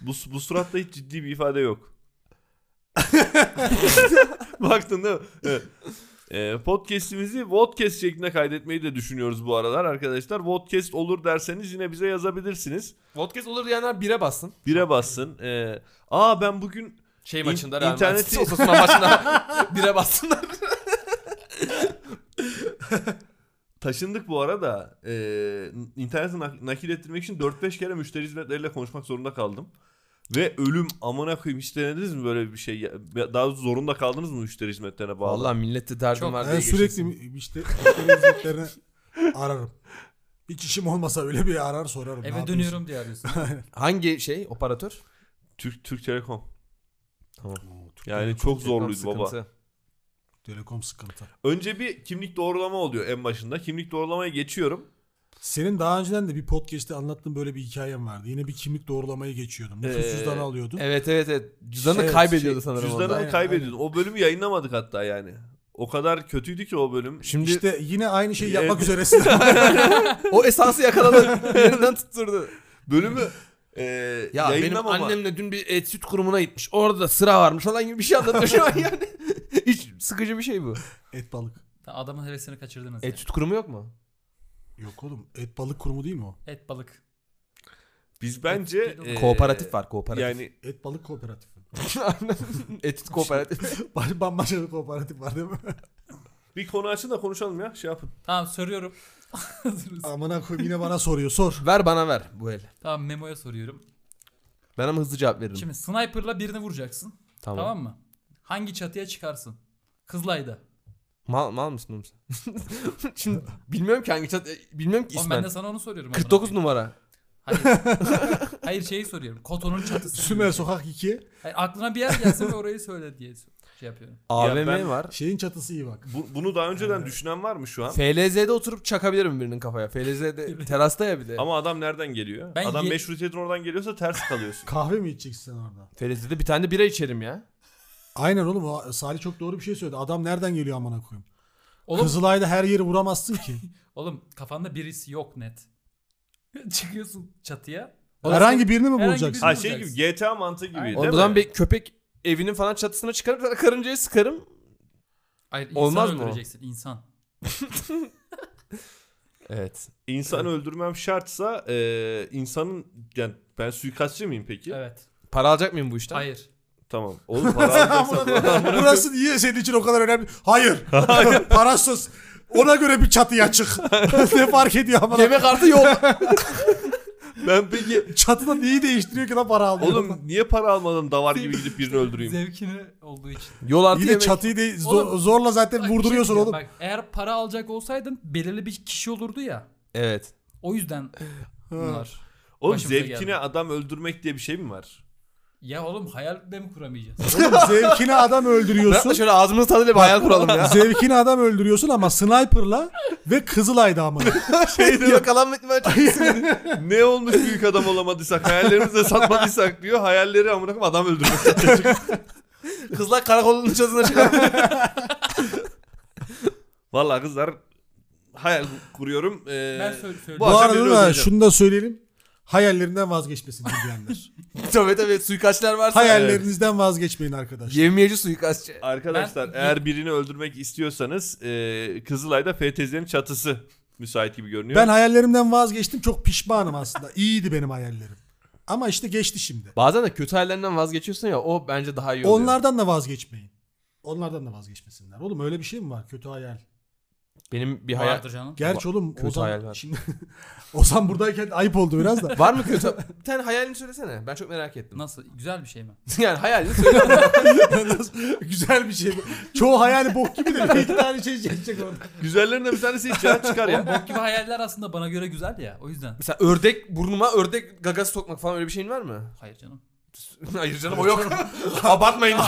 Speaker 1: Bu, bu suratta hiç ciddi bir ifade yok. Baktın değil mi? Evet. Ee, podcast'imizi vodcast şeklinde kaydetmeyi de düşünüyoruz bu aralar arkadaşlar. Vodcast olur derseniz yine bize yazabilirsiniz.
Speaker 2: Podcast olur diyenler bire bassın.
Speaker 1: Bire bassın. Ee, aa ben bugün
Speaker 2: Şey
Speaker 1: İn-
Speaker 2: maçında Real
Speaker 1: interneti-
Speaker 2: Madrid Osasuna maçında bire bassınlar.
Speaker 1: taşındık bu arada. Ee, interneti nak- nakil ettirmek için 4-5 kere müşteri hizmetleriyle konuşmak zorunda kaldım. Ve ölüm amına koyayım hiç denediniz mi böyle bir şey? Ya- Daha doğrusu zorunda kaldınız mı müşteri hizmetlerine bağlı?
Speaker 2: Vallahi millette derdim
Speaker 4: Çok-
Speaker 2: var diye
Speaker 5: Ben sürekli
Speaker 2: geçirsin.
Speaker 5: mi- işte müşteri hizmetlerini ararım. Bir kişim olmasa öyle bir arar sorarım.
Speaker 4: Eve
Speaker 5: Ne yapıyorsun?
Speaker 4: dönüyorum diye arıyorsun.
Speaker 2: Hangi şey operatör?
Speaker 1: Türk Türk Telekom.
Speaker 2: Tamam.
Speaker 1: Yani çok zorluydu baba.
Speaker 2: Sıkıntı.
Speaker 5: Telekom sıkıntı.
Speaker 1: Önce bir kimlik doğrulama oluyor en başında. Kimlik doğrulamaya geçiyorum.
Speaker 5: Senin daha önceden de bir podcast'te anlattığın böyle bir hikayen vardı. Yine bir kimlik doğrulamayı geçiyordum. Nüfus
Speaker 1: Ee,
Speaker 5: cüzdanı alıyordun.
Speaker 2: Evet evet evet. Cüzdanı
Speaker 5: Evet,
Speaker 2: kaybediyordu
Speaker 5: şey,
Speaker 2: sanırım
Speaker 1: Cüzdanımı
Speaker 2: orada.
Speaker 5: aynen,
Speaker 1: kaybediyordum. O bölümü yayınlamadık hatta yani. O kadar kötüydü ki o bölüm.
Speaker 2: Şimdi
Speaker 5: İşte yine aynı şeyi yapmak
Speaker 1: Evet.
Speaker 5: üzeresin.
Speaker 2: o esansı yakaladı. Yerinden tutturdu.
Speaker 1: Bölümü e,
Speaker 2: Ya benim
Speaker 1: yayınlamama-
Speaker 2: annemle dün bir et süt kurumuna gitmiş. Orada da sıra varmış falan gibi bir şey anlatıyor şu an yani. Hiç sıkıcı bir şey bu.
Speaker 5: et balık.
Speaker 4: Adamın hevesini kaçırdınız.
Speaker 2: Et
Speaker 4: Et,
Speaker 2: süt kurumu yok mu?
Speaker 5: Yok oğlum et balık kurumu değil mi o?
Speaker 4: et balık.
Speaker 1: Biz bence... e,
Speaker 4: Ee,
Speaker 2: kooperatif var kooperatif.
Speaker 1: Yani
Speaker 5: Et balık kooperatifi.
Speaker 2: et süt kooperatif.
Speaker 5: Bambaşka bir kooperatif var değil mi?
Speaker 1: bir konu açın da konuşalım ya. Şey yapın.
Speaker 4: Tamam soruyorum. Hazır mısın?
Speaker 5: Amına koyayım yine bana soruyor. Sor.
Speaker 2: ver bana ver bu el.
Speaker 4: tamam memoya soruyorum.
Speaker 2: Ben ama hızlı cevap veririm.
Speaker 4: Şimdi sniper'la birini vuracaksın.
Speaker 2: tamam.
Speaker 4: Tamam. mı? Hangi çatıya çıkarsın? Kızılay'da.
Speaker 2: Mal, mal mısın oğlum sen? Şimdi bilmiyorum ki hangi çat... e, Bilmiyorum ki
Speaker 4: Oğlum ben
Speaker 2: ismen.
Speaker 4: de sana onu soruyorum. amına
Speaker 2: 49
Speaker 4: koyayım.
Speaker 2: numara.
Speaker 4: Hayır. Hayır şeyi soruyorum. Kotonun çatısı.
Speaker 5: Sümer Sokak 2.
Speaker 4: Hayır, aklına bir yer gelsin ve orayı söyle diye şey yapıyorum.
Speaker 2: AVM
Speaker 1: ben-
Speaker 2: var.
Speaker 5: Şeyin çatısı iyi bak.
Speaker 1: Bu- bunu daha önceden düşünen var mı şu an?
Speaker 2: FLZ'de oturup çakabilirim birinin kafaya. FLZ'de terasta ya bir de.
Speaker 1: Ama adam nereden geliyor?
Speaker 4: Ben
Speaker 1: adam
Speaker 4: ye-
Speaker 1: meşrutiyetin oradan geliyorsa ters kalıyorsun.
Speaker 5: Kahve mi içeceksin sen orada?
Speaker 2: FLZ'de bir tane de bira içerim ya.
Speaker 5: Aynen oğlum o Salih çok doğru bir şey söyledi. Adam nereden geliyor amına koyayım?
Speaker 4: Oğlum,
Speaker 5: Kızılay'da her yeri vuramazsın ki.
Speaker 4: oğlum kafanda birisi yok net. Çıkıyorsun çatıya.
Speaker 5: herhangi birini mi
Speaker 4: herhangi
Speaker 5: vuracaksın?
Speaker 1: ha
Speaker 4: birini-
Speaker 1: şey gibi GTA mantığı gibi
Speaker 4: Aynen.
Speaker 1: değil
Speaker 2: Oğlum, O
Speaker 1: mi?
Speaker 2: zaman bir köpek evinin falan çatısına çıkarıp sonra karıncayı sıkarım.
Speaker 4: Hayır, insan
Speaker 2: Olmaz
Speaker 4: Olmaz
Speaker 2: mı o?
Speaker 4: öldüreceksin insan.
Speaker 2: Evet.
Speaker 1: İnsan öldürmem şartsa e, insanın yani ben suikastçı mıyım peki?
Speaker 4: Evet.
Speaker 2: Para alacak mıyım bu işten?
Speaker 4: Hayır.
Speaker 1: Tamam. Oğlum para alacaksan
Speaker 5: Burası niye senin için o kadar önemli? Hayır. Parasız. Ona göre bir çatıya çık. ne fark ediyor amına?
Speaker 2: Yemek artı yok.
Speaker 1: ben peki
Speaker 5: Çatıda neyi değiştiriyor ki lan para almıyor?
Speaker 1: oğlum niye para almadan davar gibi gidip birini öldüreyim?
Speaker 4: Zevkini olduğu için.
Speaker 2: Yol artı
Speaker 5: Yine
Speaker 2: yemek.
Speaker 5: çatıyı de zo-
Speaker 4: Oğlum-
Speaker 5: zorla zaten
Speaker 4: Bak,
Speaker 5: vurduruyorsun
Speaker 4: şey
Speaker 5: oğlum.
Speaker 4: diyeceğim, Bak, eğer para alacak olsaydın belirli bir kişi olurdu ya.
Speaker 2: Evet.
Speaker 4: O yüzden bunlar.
Speaker 1: Oğlum
Speaker 4: Başımıza
Speaker 1: zevkine
Speaker 4: geldi.
Speaker 1: adam öldürmek diye bir şey mi var?
Speaker 4: Ya oğlum hayal de mi kuramayacağız?
Speaker 5: Oğlum zevkine adam öldürüyorsun.
Speaker 2: Şöyle ağzımızın tadıyla bir hayal kuralım ya.
Speaker 5: zevkine adam öldürüyorsun ama sniper'la ve Kızılay damını.
Speaker 1: Şey diyor,
Speaker 2: Yakalanma ihtimali çok
Speaker 1: ne olmuş büyük adam olamadıysak, hayallerimizi de satmadıysak diyor. Hayalleri amına koyayım adam öldürmek.
Speaker 2: Kızlar karakolun çatısına çıkar.
Speaker 1: Vallahi kızlar hayal kuruyorum. Ee,
Speaker 4: ben sö- söylüyorum.
Speaker 1: bu
Speaker 5: Bu
Speaker 1: akşam
Speaker 5: arada
Speaker 1: birini
Speaker 5: da
Speaker 1: öldüreceğim.
Speaker 5: şunu da söyleyelim. Hayallerinden vazgeçmesin dinleyenler.
Speaker 2: tabii tabii suikastçılar varsa.
Speaker 5: Hayallerinizden vazgeçmeyin arkadaşlar.
Speaker 2: Yevmiyeci suikastçı.
Speaker 1: Arkadaşlar
Speaker 4: Ben-
Speaker 1: eğer birini öldürmek istiyorsanız ee, Kızılay'da FTZ'nin çatısı müsait gibi görünüyor.
Speaker 5: Ben hayallerimden vazgeçtim. Çok pişmanım aslında. İyiydi benim hayallerim. Ama işte geçti şimdi.
Speaker 2: Bazen de kötü hayallerinden vazgeçiyorsun ya o bence daha iyi oluyor.
Speaker 5: Onlardan da vazgeçmeyin. Onlardan da vazgeçmesinler. Oğlum öyle bir şey mi var? Kötü hayal.
Speaker 2: Benim bir hayal...
Speaker 4: Vardır canım.
Speaker 5: Gerçi oğlum
Speaker 2: kötü
Speaker 5: Ozan
Speaker 2: hayal var.
Speaker 5: şimdi Ozan buradayken ayıp oldu biraz da.
Speaker 2: Var mı kötü? bir tane hayalini söylesene. Ben çok merak ettim.
Speaker 4: Nasıl? Güzel bir şey mi?
Speaker 2: yani hayalini söyle.
Speaker 5: Güzel bir şey. bu. Çoğu hayali bok gibi de bir iki tane şey çekecek orada.
Speaker 1: Güzellerinden bir tanesi içeri çıkar
Speaker 4: Oğlum
Speaker 1: ya.
Speaker 4: bok gibi hayaller aslında bana göre güzel ya. O yüzden.
Speaker 2: Mesela ördek burnuma ördek gagası sokmak falan öyle bir şeyin var mı?
Speaker 4: Hayır canım.
Speaker 2: Hayır canım o yok. Abartmayın.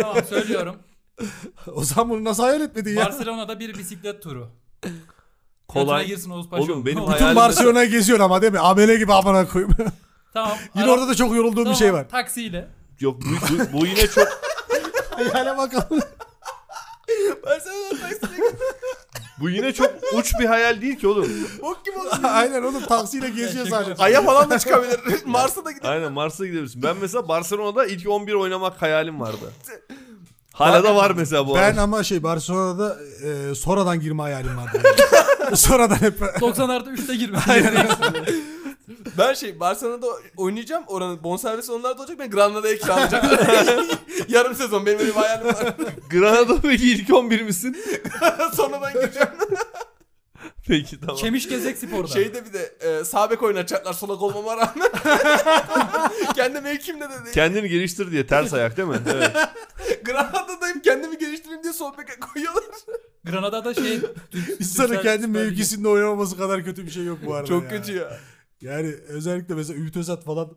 Speaker 4: tamam söylüyorum.
Speaker 5: Ozan bunu nasıl hayal etmedi ya?
Speaker 4: Barcelona'da bir bisiklet turu. Kolay.
Speaker 1: Kolay.
Speaker 4: girsin Oğuz Paşa.
Speaker 1: Oğlum benim
Speaker 4: Kolay.
Speaker 5: Tüm
Speaker 1: hayalim
Speaker 5: Barcelona'ya geziyorsun ama değil mi? Amele gibi amına koyayım.
Speaker 4: Tamam.
Speaker 5: Yine
Speaker 4: ara-
Speaker 5: orada da çok yorulduğum bir şey
Speaker 4: Tamam,
Speaker 5: var.
Speaker 4: Taksiyle.
Speaker 1: yok bu, bu, bu yine çok
Speaker 5: Hayale bakalım.
Speaker 2: Barcelona taksine
Speaker 1: bu yine çok uç bir hayal değil ki oğlum.
Speaker 2: bok gibi
Speaker 5: Aynen oğlum taksiyle geziyor sadece.
Speaker 2: Ay'a falan da çıkabilir. Mars'a da gider.
Speaker 1: Aynen Mars'a gidebilirsin. Ben mesela Barcelona'da ilk 11 oynamak hayalim vardı. Hala da var mesela bu
Speaker 5: Ben
Speaker 1: arada.
Speaker 5: ama şey Barcelona'da e, sonradan girme hayalim vardı. sonradan hep
Speaker 4: 90'larda 3'te girme.
Speaker 2: Ben şey Barcelona'da oynayacağım. Oranın bonservisi onlar da olacak. Ben Granada'ya kiralayacağım. Yarım sezon benim öyle bir hayalim var.
Speaker 1: Granada peki ilk 11 misin?
Speaker 2: Sonra ben gireceğim.
Speaker 1: Peki tamam.
Speaker 4: Çemiş gezek sporda.
Speaker 5: Şey-
Speaker 2: Şeyde bir de e, sağ bek oynatacaklar solak olmama rağmen. Kendi mevkimde de değil.
Speaker 1: Kendini geliştir diye ters ayak değil mi? Evet.
Speaker 2: Granada'dayım kendimi geliştireyim diye sol beke koyuyorlar.
Speaker 4: Granada'da şey. Türk-
Speaker 5: insanın
Speaker 4: Türksel
Speaker 5: kendi
Speaker 4: Süper Ligi.
Speaker 5: mevkisinde oynamaması kadar kötü bir şey yok bu arada
Speaker 2: Çok
Speaker 5: ya.
Speaker 2: kötü ya.
Speaker 5: Yani özellikle mesela Ümit Özat falan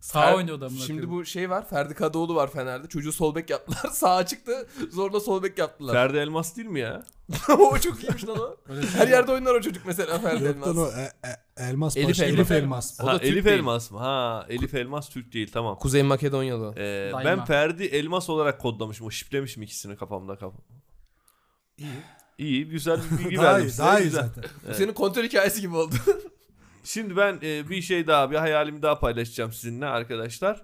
Speaker 4: Sağ oynuyor adamın.
Speaker 2: Şimdi bu şey var. Ferdi Kadıoğlu var Fener'de. Çocuğu sol bek yaptılar. Sağa çıktı. Zorla sol bek yaptılar.
Speaker 1: Ferdi Elmas değil mi ya?
Speaker 2: o çok iyiymiş lan o. Her yerde oynar o çocuk mesela Ferdi
Speaker 5: Yok lan
Speaker 2: Elmas.
Speaker 5: o e, e, Elmas
Speaker 2: Elif
Speaker 5: Paşa,
Speaker 2: Elmas.
Speaker 5: Elif Elmas.
Speaker 2: O
Speaker 1: ha,
Speaker 2: da Türk
Speaker 1: Elif
Speaker 2: değil.
Speaker 1: Elmas mı? Ha Elif Elmas Türk değil tamam.
Speaker 2: Kuzey Makedonyalı.
Speaker 1: Ee,
Speaker 4: Daima.
Speaker 1: ben Ferdi Elmas olarak kodlamışım. O şiplemişim ikisini kafamda kafam. İyi. İyi güzel bir bilgi
Speaker 5: Daha
Speaker 1: verdim
Speaker 5: iyi,
Speaker 1: size.
Speaker 5: daha iyi
Speaker 1: güzel.
Speaker 5: zaten.
Speaker 2: Bu Senin kontrol hikayesi gibi oldu.
Speaker 1: Şimdi ben e, bir şey daha bir hayalimi daha paylaşacağım sizinle arkadaşlar.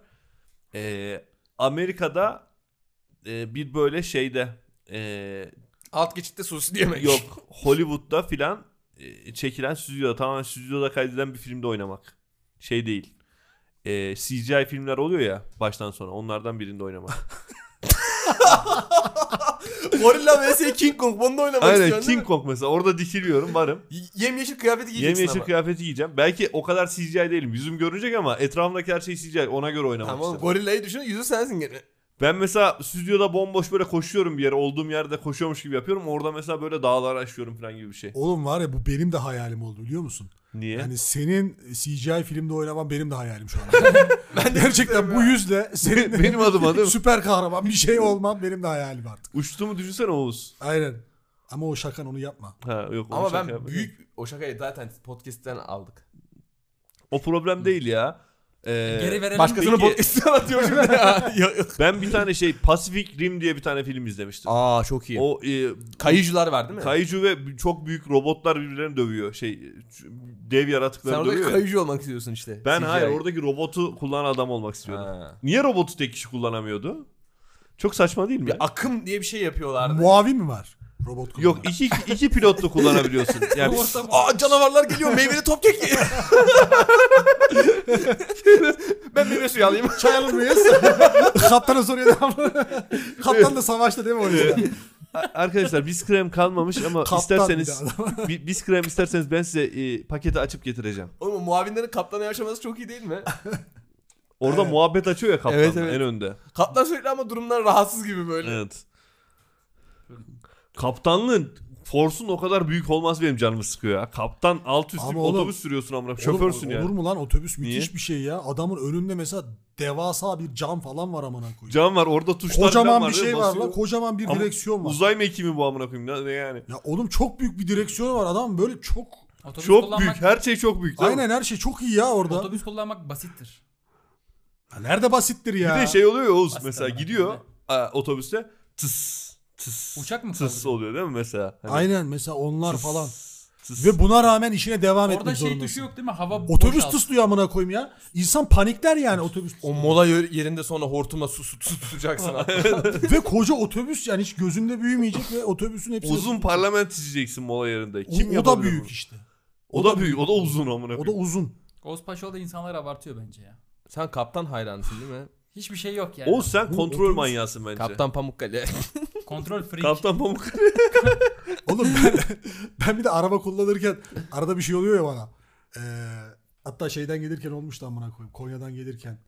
Speaker 1: E, Amerika'da e, bir böyle şeyde e,
Speaker 2: Alt geçitte sus diyemek.
Speaker 1: yok Hollywood'da filan e, çekilen stüdyoda tamamen stüdyoda kaydedilen bir filmde oynamak. Şey değil. E, CGI filmler oluyor ya baştan sona onlardan birinde oynamak.
Speaker 2: Gorilla vs King Kong. Bunu da oynamak
Speaker 1: Aynen
Speaker 2: istiyorsun değil mi?
Speaker 1: King Kong mesela orada dikiliyorum varım.
Speaker 2: Y- Yemyeşil kıyafeti giyeceksin
Speaker 1: Yemyeşil
Speaker 2: ama.
Speaker 1: kıyafeti giyeceğim. Belki o kadar CGI değilim. Yüzüm görünecek ama etrafımdaki her şey CGI. Ona göre oynamak
Speaker 2: Tamam oğlum,
Speaker 1: istedim.
Speaker 2: gorillayı düşün yüzü sensin gene.
Speaker 1: Ben mesela stüdyoda bomboş böyle koşuyorum bir yere. Olduğum yerde koşuyormuş gibi yapıyorum. Orada mesela böyle dağlar aşıyorum falan gibi bir şey.
Speaker 5: Oğlum var ya bu benim de hayalim oldu biliyor musun?
Speaker 1: Niye?
Speaker 5: Yani senin CGI filmde oynaman benim de hayalim şu anda. ben gerçekten bu yüzle senin de
Speaker 1: Benim adım adım.
Speaker 5: süper kahraman bir şey olmam benim de hayalim artık.
Speaker 1: Uçtuğumu düşünsene Oğuz.
Speaker 5: Aynen. Ama o şakan onu yapma.
Speaker 1: Ha yok onu
Speaker 2: Ama
Speaker 1: şaka
Speaker 2: ben
Speaker 1: yapmadım.
Speaker 2: büyük o şakayı zaten podcast'ten aldık.
Speaker 1: O problem değil ya.
Speaker 5: e,
Speaker 1: Ee,
Speaker 4: Geri verelim.
Speaker 2: Başkasının
Speaker 1: Peki-
Speaker 2: podcast'ten atıyor şimdi ya. Yok.
Speaker 1: ben bir tane şey Pacific Rim diye bir tane film izlemiştim.
Speaker 2: Aa çok iyi.
Speaker 1: O e,
Speaker 2: Kayıcılar var değil mi?
Speaker 1: kaiju ve çok büyük robotlar birbirlerini dövüyor. Şey dev
Speaker 2: Sen
Speaker 1: yaratıkları
Speaker 2: orada
Speaker 1: dövüyor. ya.
Speaker 2: kayıcı olmak istiyorsun işte.
Speaker 1: Ben
Speaker 2: CGI.
Speaker 1: hayır oradaki robotu kullanan adam olmak istiyordum.
Speaker 2: Ha.
Speaker 1: Niye robotu tek kişi kullanamıyordu? Çok saçma değil mi?
Speaker 2: Bir akım diye bir şey yapıyorlardı.
Speaker 5: Muavi mi var? Robot kullanan.
Speaker 1: Yok iki, iki pilotlu kullanabiliyorsun. Yani
Speaker 4: Orta-
Speaker 2: Aa canavarlar geliyor meyveli top keki. ben meyve suyu alayım.
Speaker 5: Çay alır mıyız? Kaptana soruyor devamlı. Kaptan da savaşta değil mi o yüzden?
Speaker 1: A- Arkadaşlar biz krem kalmamış ama
Speaker 5: Kaptan
Speaker 1: isterseniz
Speaker 5: bir de
Speaker 1: bi- biz krem isterseniz ben size e, paketi açıp getireceğim.
Speaker 2: Oğlum muavinlerin kaptana yaşaması çok iyi değil mi?
Speaker 1: Orada
Speaker 5: Evet.
Speaker 1: muhabbet açıyor ya kaptan
Speaker 2: Evet, evet.
Speaker 1: en önde.
Speaker 2: Kaptan sürekli ama durumdan rahatsız gibi böyle.
Speaker 1: Evet. Kaptanlığın Force'un o kadar büyük olmaz benim canımı sıkıyor ya. Kaptan alt üst
Speaker 5: Ama
Speaker 1: bir
Speaker 5: oğlum-
Speaker 1: otobüs sürüyorsun amına.
Speaker 5: Oğlum,
Speaker 1: Şoförsün yani.
Speaker 5: Olur mu lan otobüs müthiş
Speaker 1: Niye?
Speaker 5: bir şey ya. Adamın önünde mesela devasa bir cam falan var amına koyayım.
Speaker 1: Cam var orada tuşlar falan
Speaker 5: Kocaman bir
Speaker 1: değil mi?
Speaker 5: şey var
Speaker 1: Basıyor.
Speaker 5: lan. Kocaman bir
Speaker 1: Ama
Speaker 5: direksiyon var.
Speaker 1: Uzay mekiği mi bu amına koyayım lan? Ne yani?
Speaker 5: Ya oğlum çok büyük bir direksiyonu var adam böyle çok
Speaker 4: Otobüs
Speaker 1: Çok
Speaker 4: kullanmak,
Speaker 1: büyük. Her şey çok büyük. değil mi?
Speaker 5: aynen her şey çok iyi ya orada.
Speaker 4: Otobüs kullanmak basittir.
Speaker 5: Ya nerede basittir ya.
Speaker 1: Bir de şey oluyor ya Oğuz
Speaker 4: Basit
Speaker 1: mesela
Speaker 4: ama.
Speaker 1: gidiyor a, otobüste tıs tıs.
Speaker 4: Uçak mı
Speaker 1: Tıs
Speaker 4: kaldırıyor?
Speaker 1: oluyor değil mi mesela? Hani
Speaker 5: Aynen mesela onlar
Speaker 1: tıs,
Speaker 5: falan.
Speaker 1: Tıs.
Speaker 5: Ve buna rağmen işine devam
Speaker 4: Orada
Speaker 5: etmek
Speaker 4: şey
Speaker 5: zorundasın.
Speaker 4: tuşu yok değil mi? Hava
Speaker 5: Otobüs
Speaker 4: boşalt.
Speaker 5: tıslıyor amına koyayım ya. İnsan panikler yani otobüs.
Speaker 2: O mola yer- yerinde sonra hortumla su, su su- tutacaksın.
Speaker 5: ve koca otobüs yani hiç gözünde büyümeyecek ve otobüsün hepsi
Speaker 1: Uzun parlament çizeceksin mola yerinde.
Speaker 5: O-
Speaker 1: Kim
Speaker 5: o, da
Speaker 1: yapabilir
Speaker 5: büyük
Speaker 1: bunu?
Speaker 5: işte.
Speaker 1: O da büyük. O da uzun amına
Speaker 5: O da
Speaker 1: koyayım.
Speaker 5: uzun.
Speaker 4: Oğuz Paşaoğlu insanlar abartıyor bence ya.
Speaker 2: Sen kaptan hayranısın değil mi?
Speaker 4: Hiçbir şey yok yani.
Speaker 1: Oğuz sen
Speaker 5: Bu
Speaker 1: kontrol
Speaker 5: otobüs-
Speaker 1: manyasın bence.
Speaker 2: Kaptan Pamukkale.
Speaker 4: Kontrol freak.
Speaker 1: Kaptan Pamuk.
Speaker 5: Oğlum ben, ben bir de araba kullanırken arada bir şey oluyor ya bana. Ee, hatta şeyden gelirken olmuştu amına koyayım. Konya'dan gelirken.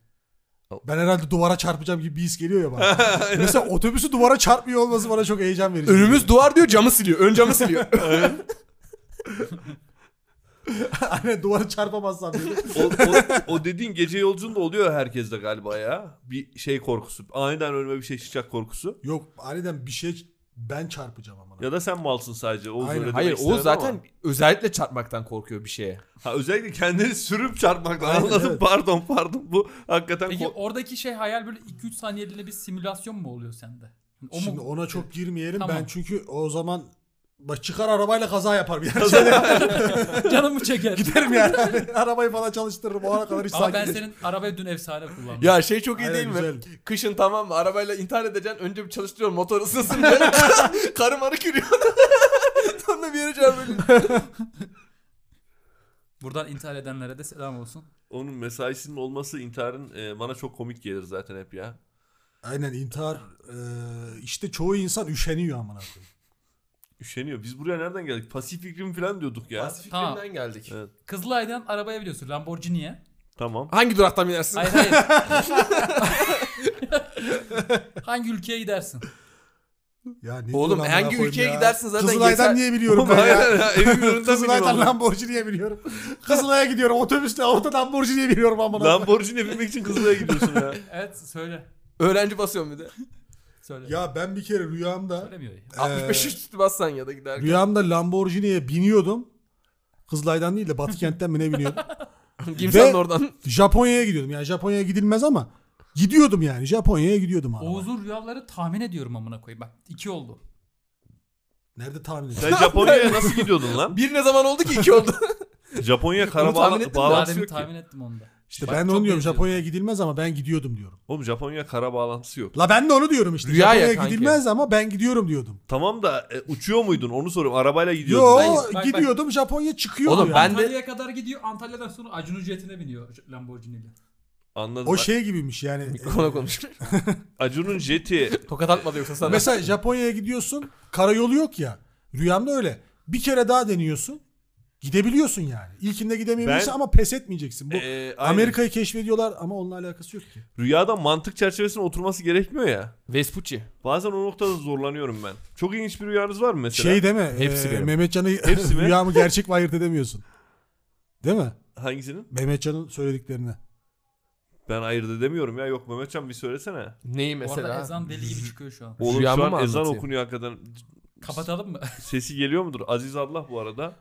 Speaker 5: Ben herhalde duvara çarpacağım gibi bir his geliyor ya bana. Mesela otobüsü duvara çarpmıyor olması bana çok heyecan verici.
Speaker 2: Önümüz duvar diyor camı siliyor. Ön camı siliyor.
Speaker 5: Aynen duvara çarpamazsam. diye.
Speaker 1: o, o, o dediğin gece yolcunda oluyor herkeste galiba ya. Bir şey korkusu. Aniden önüme bir şey çıkacak korkusu.
Speaker 5: Yok aniden bir şey ben çarpacağım amına.
Speaker 1: Ya da sen malsın sadece. Oğuz
Speaker 5: Aynen.
Speaker 1: öyle demek
Speaker 2: Hayır o
Speaker 1: istemedi
Speaker 2: zaten
Speaker 1: ama.
Speaker 2: özellikle çarpmaktan korkuyor bir şeye.
Speaker 1: Ha, özellikle kendini sürüp çarpmaktan
Speaker 5: Aynen,
Speaker 1: anladım.
Speaker 5: evet.
Speaker 1: Pardon pardon. Bu hakikaten
Speaker 4: Peki
Speaker 1: ko-
Speaker 4: oradaki şey hayal böyle 2-3 saniyeliğine bir simülasyon mu oluyor sende? O
Speaker 5: Şimdi
Speaker 4: mu?
Speaker 5: ona çok girmeyelim
Speaker 4: Tamam.
Speaker 5: ben çünkü o zaman bak çıkar arabayla kaza yapar bir yer.
Speaker 4: Canımı çeker.
Speaker 5: Giderim yani. Arabayı falan çalıştırırım o ana kadar hiç
Speaker 4: Ama ben
Speaker 5: sakin.
Speaker 4: senin arabayı dün efsane kullandım.
Speaker 2: Ya şey çok iyi
Speaker 5: Aynen,
Speaker 2: değil mi?
Speaker 5: güzel.
Speaker 2: Kışın tamam mı? Arabayla intihar edeceksin. Önce bir çalıştırıyorsun motor ısınsın diye. Karı marı kürüyor. Sonra bir yere çarpıyorsun.
Speaker 4: Buradan intihar edenlere de selam olsun.
Speaker 1: Onun mesaisinin olması intiharın e, bana çok komik gelir zaten hep ya.
Speaker 5: Aynen intihar eee, işte çoğu insan üşeniyor amına koyayım.
Speaker 1: Üşeniyor. Biz buraya nereden geldik? Pasif iklim falan diyorduk ya.
Speaker 2: Pasif
Speaker 4: Tamam.
Speaker 2: iklimden geldik.
Speaker 1: Evet.
Speaker 4: Kızılay'dan arabaya biliyorsun Lamborghini'ye.
Speaker 1: Tamam.
Speaker 2: Hangi duraktan binersin?
Speaker 4: Hayır hayır. Hangi ülkeye gidersin?
Speaker 5: Ya ne
Speaker 2: Oğlum,
Speaker 5: diyorum amına
Speaker 2: hangi
Speaker 5: koyayım
Speaker 2: ülkeye
Speaker 5: ya?
Speaker 2: gidersin zaten
Speaker 5: Kızılay'dan
Speaker 2: yeter-
Speaker 5: niye biliyorum ben ya?
Speaker 1: Aynen, evimin önünden
Speaker 5: Kızılay'dan
Speaker 1: biniyorum.
Speaker 5: Lamborghini'ye biliyorum. Kızılay'a gidiyorum otobüsle orada Lamborghini'ye biliyorum amına. koyayım.
Speaker 1: Lamborghini'ye binmek için Kızılay'a gidiyorsun ya.
Speaker 4: Evet söyle.
Speaker 2: Öğrenci basıyorsun bir de.
Speaker 4: Söyle.
Speaker 5: Ya ben bir kere rüyamda e,
Speaker 4: Söylemiyor ya.
Speaker 2: 65 üstü bassan ya da giderken.
Speaker 5: rüyamda Lamborghini'ye biniyordum. Kızılay'dan değil de Batıkent'ten mi ne biniyordum?
Speaker 2: Kimsenin
Speaker 5: Ve-
Speaker 2: oradan.
Speaker 5: Japonya'ya gidiyordum. Yani Japonya'ya gidilmez ama gidiyordum yani. Japonya'ya gidiyordum abi.
Speaker 4: Oğuz'un rüyaları tahmin ediyorum amına koyayım. Bak iki oldu.
Speaker 5: Nerede tahmin ediyorsun?
Speaker 1: Sen Japonya'ya nasıl gidiyordun lan?
Speaker 2: Bir ne zaman oldu ki iki oldu.
Speaker 1: Japonya
Speaker 2: Onu
Speaker 1: kara
Speaker 2: tahmin
Speaker 1: bağla-
Speaker 2: ettim de
Speaker 4: Daha
Speaker 1: bağlantısı
Speaker 4: demin
Speaker 1: yok ki.
Speaker 4: tahmin ettim onu da.
Speaker 5: İşte
Speaker 4: Bak,
Speaker 5: ben de
Speaker 4: çok
Speaker 5: onu diyorum.
Speaker 4: benziyor.
Speaker 5: Japonya'ya gidilmez ama ben gidiyordum diyorum.
Speaker 1: Oğlum Japonya kara bağlantısı yok.
Speaker 5: La ben de onu diyorum işte.
Speaker 2: Rüya ya
Speaker 5: Japonya'ya
Speaker 2: kanki.
Speaker 5: gidilmez ama ben gidiyorum diyordum.
Speaker 1: Tamam da e, uçuyor muydun? Onu soruyorum. Arabayla gidiyordun.
Speaker 5: Yo
Speaker 1: Hayır.
Speaker 4: bak, bak.
Speaker 5: gidiyordum Japonya çıkıyordu
Speaker 2: Oğlum
Speaker 5: yani.
Speaker 2: ben- de-
Speaker 4: Antalya'ya kadar gidiyor. Antalya'dan sonra Acun ücretine biniyor Lamborghini'yle.
Speaker 1: Anladım.
Speaker 5: O şey gibiymiş yani.
Speaker 2: Mikrofona konuş.
Speaker 1: Acun'un jeti. e,
Speaker 2: Tokat atmadı yoksa sana.
Speaker 5: Mesela Japonya'ya gidiyorsun. Karayolu yok ya. Rüyamda öyle. Bir kere daha deniyorsun. Gidebiliyorsun yani. İlkinde gidemeyebilirsin
Speaker 1: Ben-
Speaker 5: ama pes etmeyeceksin. Bu
Speaker 1: e, aynen.
Speaker 5: Amerika'yı keşfediyorlar ama onunla alakası yok ki.
Speaker 1: Rüyada mantık çerçevesine oturması gerekmiyor ya.
Speaker 2: Vespucci.
Speaker 1: Bazen o noktada zorlanıyorum ben. Çok ilginç bir rüyanız var mı mesela?
Speaker 5: Şey deme.
Speaker 2: Hepsi
Speaker 5: Hepsi
Speaker 2: benim.
Speaker 5: Mehmetcan'ı
Speaker 1: Hepsi mi?
Speaker 5: rüyamı gerçek mi ayırt edemiyorsun. Değil mi?
Speaker 1: Hangisinin?
Speaker 5: Mehmetcan'ın söylediklerini.
Speaker 1: Ben ayırt edemiyorum ya. Yok Mehmetcan bir söylesene.
Speaker 2: Neyi
Speaker 4: Bu arada
Speaker 2: mesela?
Speaker 4: ezan deli gibi çıkıyor şu an.
Speaker 1: Oğlum
Speaker 2: Rüyamı
Speaker 1: şu
Speaker 2: mı
Speaker 1: an ezan
Speaker 2: anlatayım?
Speaker 1: okunuyor hakikaten.
Speaker 4: Kapatalım mı?
Speaker 1: Sesi geliyor mudur? Aziz Allah bu arada.